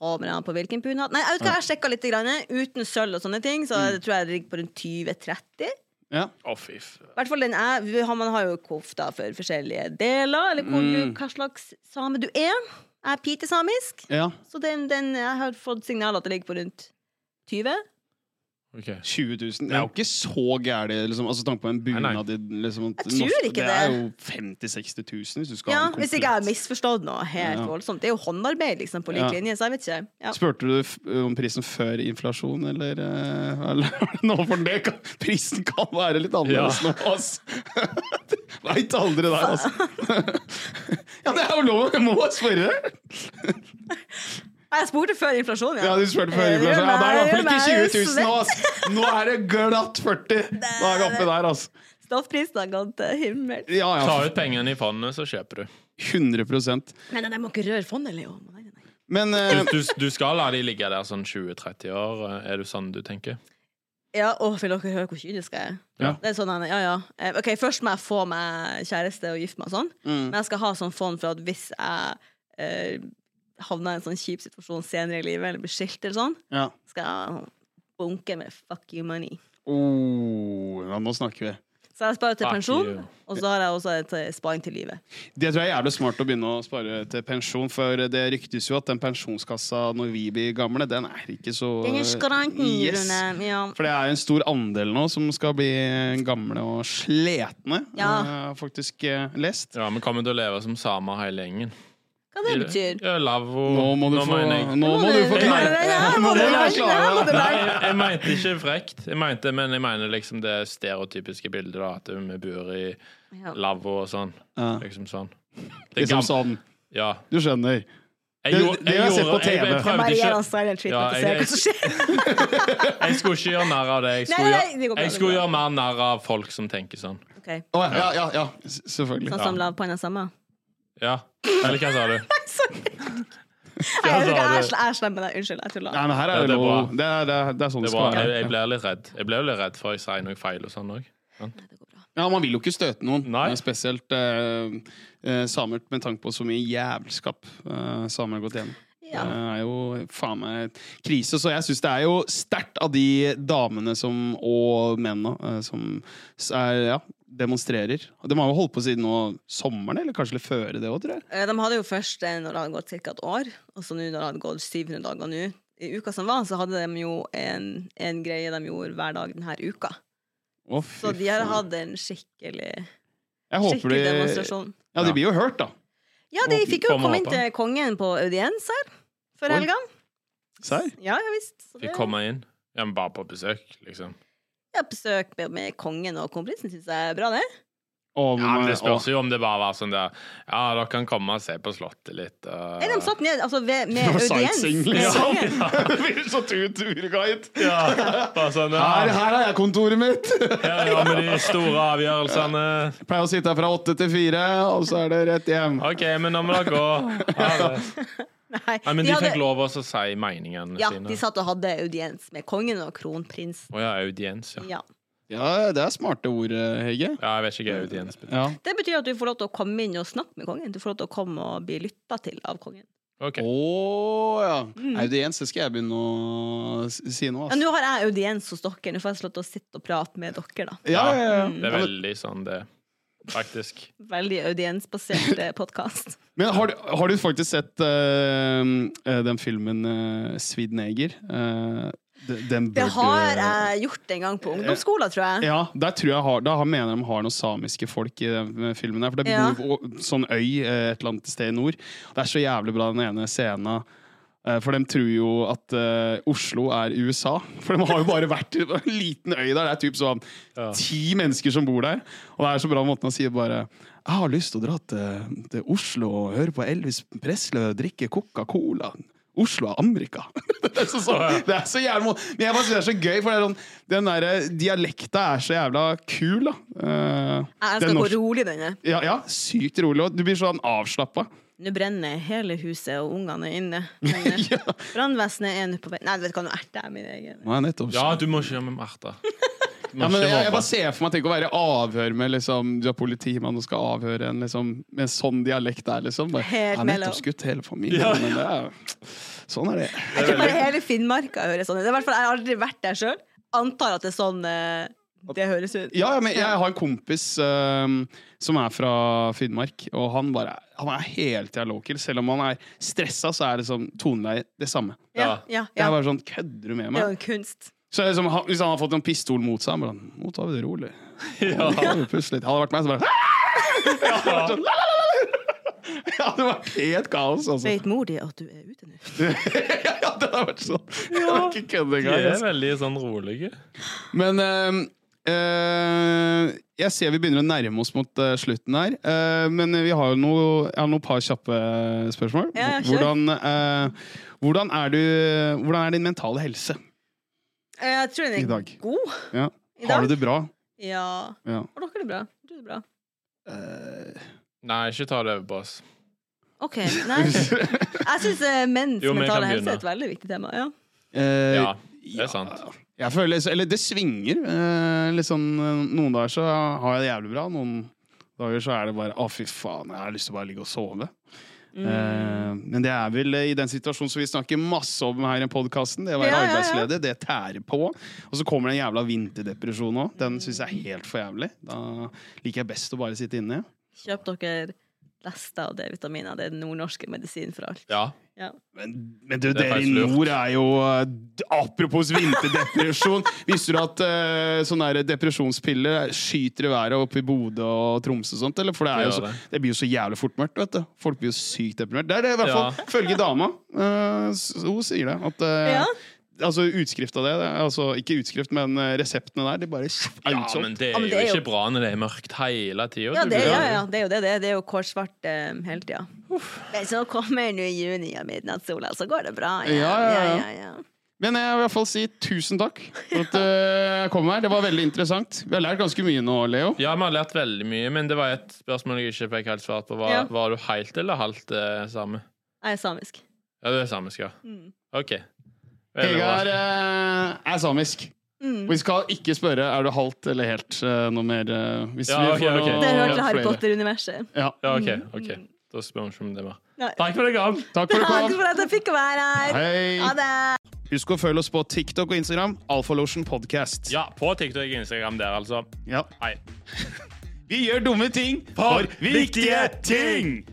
[SPEAKER 4] Kommer an på hvilken bunad. Nei, jeg vet hva, jeg sjekka litt. Grann. Uten sølv og sånne ting, så
[SPEAKER 1] Mm.
[SPEAKER 4] jeg tror jeg det ligger på rundt 20-30.
[SPEAKER 1] ja.
[SPEAKER 2] Å, fy f-
[SPEAKER 4] I hvert fall den er vi har- Man har jo kofta for forskjellige deler, eller hvor
[SPEAKER 1] Mm.
[SPEAKER 4] du, hva slags same du er. Jeg er pitesamisk,
[SPEAKER 1] ja.
[SPEAKER 4] så den, den, jeg har fått signal at det ligger på rundt 20.
[SPEAKER 2] Ok.
[SPEAKER 1] 20 000. Det er jo ikke så gærent, liksom. Altså tanke på en
[SPEAKER 2] Nei,
[SPEAKER 1] bunad
[SPEAKER 2] nei.
[SPEAKER 1] i liksom, at
[SPEAKER 4] Jeg tror
[SPEAKER 1] norsk-
[SPEAKER 4] ikke
[SPEAKER 1] Det er
[SPEAKER 4] det.
[SPEAKER 1] jo 50 000-60 000 hvis du skal
[SPEAKER 4] Ja,
[SPEAKER 1] ha en
[SPEAKER 4] hvis ikke jeg har
[SPEAKER 1] komplett.
[SPEAKER 4] misforstått noe helt
[SPEAKER 1] Ja.
[SPEAKER 4] voldsomt. Det er jo håndarbeid liksom, på lik
[SPEAKER 1] Ja.
[SPEAKER 4] linje, så jeg vet ikke. Ja.
[SPEAKER 1] Spurte du f- eh, om prisen før inflasjon, eller, eh, eller nå for det? kan- Prisen kan være litt annerledes
[SPEAKER 2] Ja.
[SPEAKER 1] nå, ass! Veit aldri der, altså. Ja, det er jo lov! Jeg må bare spørre!
[SPEAKER 4] Jeg spurte før inflasjonen,
[SPEAKER 1] Ja, du spurte før inflasjon. Ja, det er i hvert fall ikke 20 000 nå, ass! Nå er det glatt 40! Nå er vi oppe der, ass.
[SPEAKER 4] Stoffprisen har gått til himmels.
[SPEAKER 1] Ja,
[SPEAKER 2] Ta
[SPEAKER 1] ja.
[SPEAKER 2] ut pengene i fondet, så kjøper du.
[SPEAKER 1] 100
[SPEAKER 4] Nei, nei, de må ikke røre fondet, Leo. Nei, nei, nei.
[SPEAKER 1] Men eh,
[SPEAKER 2] Du, du skal la de ligge der sånn 20-30 år, er du sånn du tenker?
[SPEAKER 4] Ja, å, vil dere høre hvor kynisk jeg er?
[SPEAKER 2] Ja.
[SPEAKER 4] Det er sånn, han er, ja, ja. Eh, Ok, Først må jeg få meg kjæreste og gifte meg og sånn. Men jeg skal ha sånn fond for at hvis jeg eh, havner i en sånn kjip situasjon senere i livet, eller blir skilt eller sånn,
[SPEAKER 1] ja.
[SPEAKER 4] skal jeg bunke med fuck you money.
[SPEAKER 1] Oh, ja, nå snakker vi.
[SPEAKER 4] Så jeg sparer til
[SPEAKER 2] Fuck
[SPEAKER 4] pensjon,
[SPEAKER 2] you.
[SPEAKER 4] og så har jeg også et eh, sparing til livet.
[SPEAKER 1] Det tror jeg er jævlig smart å begynne å spare til pensjon, for det ryktes jo at den pensjonskassa når vi blir gamle, den er ikke så
[SPEAKER 4] Den er skranten,
[SPEAKER 1] Yes.
[SPEAKER 4] Rune. Ja.
[SPEAKER 1] For det er en stor andel nå som skal bli gamle og sletne,
[SPEAKER 4] Ja.
[SPEAKER 1] har jeg faktisk eh, lest.
[SPEAKER 2] Ja, vi kommer til å leve som samer hele gjengen.
[SPEAKER 4] Hva det betyr?
[SPEAKER 2] Ja, lavvo.
[SPEAKER 1] Nå må du få
[SPEAKER 2] mener jeg-
[SPEAKER 1] Nå må du forklare!
[SPEAKER 4] Det her må du
[SPEAKER 1] Nå må du
[SPEAKER 4] lære! Det her må
[SPEAKER 1] forklare.
[SPEAKER 4] du
[SPEAKER 2] Nei,
[SPEAKER 4] lære.
[SPEAKER 2] jeg, jeg mente ikke frekt, jeg mente, men jeg mener liksom det stereotypiske bildet. da At vi bor i
[SPEAKER 4] Ja.
[SPEAKER 2] lavvo og sånn.
[SPEAKER 1] Ja.
[SPEAKER 2] Liksom sånn. Det er
[SPEAKER 1] Liksom
[SPEAKER 2] gam-
[SPEAKER 1] sånn.
[SPEAKER 2] Ja.
[SPEAKER 1] Du skjønner.
[SPEAKER 2] Jeg,
[SPEAKER 1] Det-
[SPEAKER 2] gjorde-
[SPEAKER 1] det har jeg sett på
[SPEAKER 2] gjorde- jeg-
[SPEAKER 1] TV.
[SPEAKER 2] Jeg, prøvde
[SPEAKER 4] Bare gi han
[SPEAKER 2] ikke,
[SPEAKER 4] silent treatment
[SPEAKER 2] Ja,
[SPEAKER 4] og se
[SPEAKER 2] jeg-
[SPEAKER 4] hva som skjer.
[SPEAKER 2] jeg skulle ikke gjøre narr av det. Jeg skulle,
[SPEAKER 4] Nei, nei, det går
[SPEAKER 2] gjøre,
[SPEAKER 4] bra,
[SPEAKER 2] jeg
[SPEAKER 4] det
[SPEAKER 2] skulle gjøre
[SPEAKER 4] går bra.
[SPEAKER 2] mer narr av folk som tenker sånn.
[SPEAKER 4] Ok.
[SPEAKER 1] Å ja, ja, ja, ja. S- Selvfølgelig.
[SPEAKER 4] Sånn som lavpanna samme.
[SPEAKER 2] Ja. Eller hva sa du?
[SPEAKER 4] Nei, jeg,
[SPEAKER 2] sa
[SPEAKER 4] jeg, jeg,
[SPEAKER 2] det.
[SPEAKER 4] jeg er slem med deg. Unnskyld, jeg tulla.
[SPEAKER 1] Nei, men her
[SPEAKER 2] Ja,
[SPEAKER 1] er det
[SPEAKER 2] det er
[SPEAKER 1] lov.
[SPEAKER 2] bra.
[SPEAKER 1] Det er, det er, det er sånn det,
[SPEAKER 2] Det
[SPEAKER 1] skal
[SPEAKER 2] var, jeg, jeg
[SPEAKER 1] være.
[SPEAKER 2] ble litt redd Jeg ble jo litt redd for jeg sier noe feil og sånn òg.
[SPEAKER 1] Ja, Man vil jo ikke støte noen,
[SPEAKER 2] Nei.
[SPEAKER 1] men spesielt eh, eh, samer med tanke på så mye jævelskap eh, samer har gått gjennom.
[SPEAKER 4] Ja.
[SPEAKER 1] Det er jo faen meg et krise, så jeg syns det er jo sterkt av de damene som, og mennene eh, som s- er, ja, demonstrerer. De har jo holdt på siden nå sommeren, eller kanskje litt før det òg, tror jeg.
[SPEAKER 4] Eh, De hadde jo først eh, når det hadde gått ca. et år, og så nå når det hadde gått 700 dager nå. I uka som var, så hadde de jo en, en greie de gjorde hver dag denne uka.
[SPEAKER 1] Å, fy
[SPEAKER 4] Så de har
[SPEAKER 1] faen.
[SPEAKER 4] hatt en skikkelig,
[SPEAKER 1] Jeg håper
[SPEAKER 4] skikkelig
[SPEAKER 1] de,
[SPEAKER 4] demonstrasjon.
[SPEAKER 1] ja, de blir jo hørt, da.
[SPEAKER 4] Ja, de fikk jo
[SPEAKER 2] Kom og
[SPEAKER 4] komme inn
[SPEAKER 2] hoppe.
[SPEAKER 4] til kongen på audiens her for
[SPEAKER 1] Oi.
[SPEAKER 4] helga.
[SPEAKER 1] Serr?
[SPEAKER 4] Ja, ja visst. Så det-
[SPEAKER 2] Fikk komme inn. Ja, men bare på besøk, liksom.
[SPEAKER 4] Ja, besøk med, med kongen og kronprinsen syns jeg er bra, det.
[SPEAKER 1] Om,
[SPEAKER 2] Ja, men Det
[SPEAKER 1] å,
[SPEAKER 2] spørs jo om det bare var sånn der Ja, dere kan komme og se på Slottet litt. og-
[SPEAKER 4] Eller de satt ned altså, ved, med
[SPEAKER 1] Det var
[SPEAKER 4] audiens.
[SPEAKER 1] sightseeing,
[SPEAKER 4] med
[SPEAKER 1] liksom.
[SPEAKER 4] kongen.
[SPEAKER 1] Det blir så tur- turguide.
[SPEAKER 2] Ja, bare sånn
[SPEAKER 1] Her,
[SPEAKER 2] ja,
[SPEAKER 1] her er jeg kontoret mitt! Jeg
[SPEAKER 2] ja, ja, med de store avgjørelsene.
[SPEAKER 1] pleier å sitte her fra åtte til fire, og så er det rett hjem.
[SPEAKER 2] OK, men nå må dere gå. Ha det.
[SPEAKER 4] Nei,
[SPEAKER 2] Nei, men
[SPEAKER 4] de
[SPEAKER 2] de
[SPEAKER 4] hadde-
[SPEAKER 2] fikk lov også å si meningene
[SPEAKER 4] Ja,
[SPEAKER 2] sine.
[SPEAKER 4] de satt og hadde audiens med kongen og kronprinsen.
[SPEAKER 2] Å ja, audiens, ja.
[SPEAKER 4] Ja.
[SPEAKER 1] Ja, det er smarte ord, eh, Hege.
[SPEAKER 2] Ja, jeg vet ikke hva audiens betyr.
[SPEAKER 1] Ja.
[SPEAKER 4] Det betyr at du får lov til å komme inn og snakke med kongen. Du får lov til å komme og bli lytta til av kongen.
[SPEAKER 2] Ok.
[SPEAKER 1] Å ja. Audiens, det skal jeg begynne å s- si nå.
[SPEAKER 4] Mm. Ja,
[SPEAKER 1] ass.
[SPEAKER 4] Nå har jeg audiens hos dere. Nå får jeg slå til å sitte og prate med dere, da.
[SPEAKER 1] Ja, ja, ja.
[SPEAKER 2] Det
[SPEAKER 4] Mm.
[SPEAKER 1] ja.
[SPEAKER 2] er
[SPEAKER 1] men-
[SPEAKER 2] veldig sånn det Faktisk.
[SPEAKER 4] Veldig audiensbasert eh, podkast.
[SPEAKER 1] Men har du, har du faktisk sett eh, eh, den filmen uh, Svidd neger? Eh, de- den
[SPEAKER 4] Det
[SPEAKER 1] burde-
[SPEAKER 4] har jeg gjort en gang på ungdomsskolen, tror jeg.
[SPEAKER 1] Eh, Ja, der tror jeg har, da har- mener de har noen samiske folk i den eh, filmen. Der, for det bor
[SPEAKER 4] Ja.
[SPEAKER 1] å- sånn øy eh, et eller annet sted i nord. Det er så jævlig bra den ene scenen. eh, For de tror jo at eh, Oslo er USA. For de har jo bare vært i en liten øy der. Det er typ sånn
[SPEAKER 2] Ja.
[SPEAKER 1] ti mennesker som bor der. Og det er så bra måten han sier bare Jeg har lyst til å dra til, til Oslo og høre på Elvis Presley og drikke Coca-Cola. Oslo er Amerika. det, er så, så, det er så jævlig mo- Men jeg bare synes det er så gøy, for det er sånn, den der dialekta er så jævla kul, da. Eh,
[SPEAKER 4] Jeg
[SPEAKER 1] den
[SPEAKER 4] elsker hvor
[SPEAKER 1] norsk-
[SPEAKER 4] rolig den er.
[SPEAKER 1] ja, ja, sykt rolig. Og du blir sånn avslappa.
[SPEAKER 4] Nå brenner hele huset, og ungene er inne. Men eh,
[SPEAKER 1] Ja.
[SPEAKER 4] brannvesenet er nå på vei Nei, vet du hva, nå erter jeg min egen.
[SPEAKER 1] Nei, nettopp.
[SPEAKER 2] Ja, du må ikke gjøre med Martha. Du må
[SPEAKER 1] Ja, men
[SPEAKER 2] ikke
[SPEAKER 1] jeg, jeg bare
[SPEAKER 2] mobbe.
[SPEAKER 1] ser for meg tenk å være i avhør med liksom, Du er politimann og skal avhøre en liksom, med en sånn dialekt der, liksom. Bare,
[SPEAKER 4] Helt
[SPEAKER 1] jeg har
[SPEAKER 4] mellow.
[SPEAKER 1] nettopp skutt hele familien.
[SPEAKER 2] Ja.
[SPEAKER 1] Men det er, sånn er det.
[SPEAKER 4] Jeg tror bare hele Finnmarka hører sånn ut. I hvert fall, Jeg har aldri vært der sjøl. Antar at det er sånn eh, det høres ut.
[SPEAKER 1] Ja, ja, men jeg har en kompis øhm, som er fra Finnmark, og han, bare, han er helt tida local. Selv om han er stressa, så er liksom toneleie det samme.
[SPEAKER 4] Ja, ja,
[SPEAKER 1] Jeg
[SPEAKER 4] ja.
[SPEAKER 1] er bare sånn, kødder du med
[SPEAKER 4] Det er jo
[SPEAKER 1] meg?
[SPEAKER 4] en kunst.
[SPEAKER 1] Så jeg liksom, han- Hvis han har fått en pistol mot seg, han bare sånn, nå tar vi det rolig.
[SPEAKER 2] Ja.
[SPEAKER 1] Ja. Hadde det vært meg, så bare Det hadde vært helt kaos, altså.
[SPEAKER 4] Vet mor di at du er ute nå?
[SPEAKER 1] Ja, det hadde vært sånn. Jeg kan ikke kødde
[SPEAKER 2] De
[SPEAKER 1] engang.
[SPEAKER 2] er
[SPEAKER 1] altså.
[SPEAKER 2] veldig sånn rolige.
[SPEAKER 1] Men eh, eh, jeg ser vi begynner å nærme oss mot eh, slutten her. Eh, men vi har jo noe, jeg har noen par kjappe spørsmål.
[SPEAKER 4] Ja, kjør.
[SPEAKER 1] hvordan, eh, hvordan, er du, hvordan er din mentale helse
[SPEAKER 4] Eh, Jeg tror
[SPEAKER 1] i
[SPEAKER 4] den er
[SPEAKER 1] dag?
[SPEAKER 4] god.
[SPEAKER 1] Ja.
[SPEAKER 4] I dag?
[SPEAKER 1] Har du det bra?
[SPEAKER 4] Ja.
[SPEAKER 1] Ja.
[SPEAKER 4] Har dere det bra? Har du det bra?
[SPEAKER 2] Nei, ikke ta det over på oss.
[SPEAKER 4] OK. Nei. Jeg syns menns
[SPEAKER 2] Jo, men jeg kan
[SPEAKER 4] mentale helse
[SPEAKER 2] begynne.
[SPEAKER 4] er et veldig viktig tema. Ja.
[SPEAKER 1] Eh,
[SPEAKER 2] Ja, det er sant.
[SPEAKER 1] Jeg føler, Eller det svinger. eh, litt sånn, eh, noen dager så har jeg det jævlig bra. Noen dager så er det bare 'Å, fy faen, jeg har lyst til å bare ligge og sove'.
[SPEAKER 4] Mm.
[SPEAKER 1] Eh, men det er vel eh, i den situasjonen som vi snakker masse om her i podkasten. Det å være
[SPEAKER 4] Ja, ja, ja.
[SPEAKER 1] arbeidsledig, det tærer på. Og så kommer den jævla vinterdepresjonen òg. Den syns jeg er helt for jævlig. Da liker jeg best å bare sitte inne.
[SPEAKER 4] Kjøp dere lester og D-vitaminer. Det er den nordnorske medisinen for alt.
[SPEAKER 2] Ja.
[SPEAKER 4] Ja.
[SPEAKER 1] Men, men du,
[SPEAKER 2] Det er
[SPEAKER 1] dere i
[SPEAKER 2] faktisk lurt.
[SPEAKER 1] nord er jo eh, d- Apropos vinterdepresjon. Visste du at eh, sånne der depresjonspiller skyter i været oppe i Bodø og Tromsø og sånt? Eller? For det, er jo
[SPEAKER 2] Det gjør
[SPEAKER 1] så,
[SPEAKER 2] det.
[SPEAKER 1] det blir jo så jævlig fort mørkt. Vet du. Folk blir jo sykt deprimert. Det er det i hvert
[SPEAKER 2] Ja.
[SPEAKER 1] fall følge dama. Eh, s- hun sier det. At, eh,
[SPEAKER 4] Ja.
[SPEAKER 1] Altså utskrift av det, det er altså Ikke utskrift, men eh, reseptene der. De bare er
[SPEAKER 2] ja,
[SPEAKER 1] utsolgt.
[SPEAKER 2] men det
[SPEAKER 4] Ja,
[SPEAKER 2] er jo
[SPEAKER 4] men det er
[SPEAKER 2] ikke
[SPEAKER 4] jo-
[SPEAKER 2] bra når det er mørkt hele tida.
[SPEAKER 4] Ja, det, ja, ja, det er jo det. Det er, det er jo kålsvart eh, hele tida. Men så kommer nå juni og midnattssola, så går det bra.
[SPEAKER 1] Ja, ja, ja.
[SPEAKER 4] ja.
[SPEAKER 1] Men jeg vil i hvert fall si tusen takk for at eh, jeg kom her. Det var veldig interessant. Vi har lært ganske mye nå, Leo.
[SPEAKER 2] Ja, vi har lært veldig mye, men det var et spørsmål jeg ikke fikk helt svart på. Var,
[SPEAKER 4] Ja.
[SPEAKER 2] var du helt eller halvt eh, same?
[SPEAKER 4] Jeg er samisk.
[SPEAKER 2] Ja, du er samisk, ja.
[SPEAKER 4] Mm.
[SPEAKER 2] OK. Veldig bra.
[SPEAKER 1] Vegard eh, er samisk.
[SPEAKER 4] Mm.
[SPEAKER 1] Vi skal ikke spørre er du halvt eller helt eh, noe mer. eh, hvis
[SPEAKER 2] Ja,
[SPEAKER 1] vi får
[SPEAKER 2] ok, ok.
[SPEAKER 1] noe
[SPEAKER 4] Det
[SPEAKER 2] er
[SPEAKER 4] hørte Harry
[SPEAKER 1] flere.
[SPEAKER 4] Potter-universet.
[SPEAKER 1] Ja.
[SPEAKER 2] Ja, OK.
[SPEAKER 4] Mm.
[SPEAKER 2] ok. Da spør vi ikke om det mer.
[SPEAKER 4] Nei.
[SPEAKER 2] Takk for deg, Gav.
[SPEAKER 1] Takk for at
[SPEAKER 4] Takk
[SPEAKER 1] du kom.
[SPEAKER 4] for at jeg fikk være her. Ha
[SPEAKER 1] Hei.
[SPEAKER 4] det.
[SPEAKER 1] Husk å følge oss på TikTok og Instagram. Alfalotion podcast.
[SPEAKER 2] Ja, på TikTok og Instagram der, altså.
[SPEAKER 1] Ja.
[SPEAKER 2] Hei.
[SPEAKER 1] Vi gjør dumme ting for viktige ting!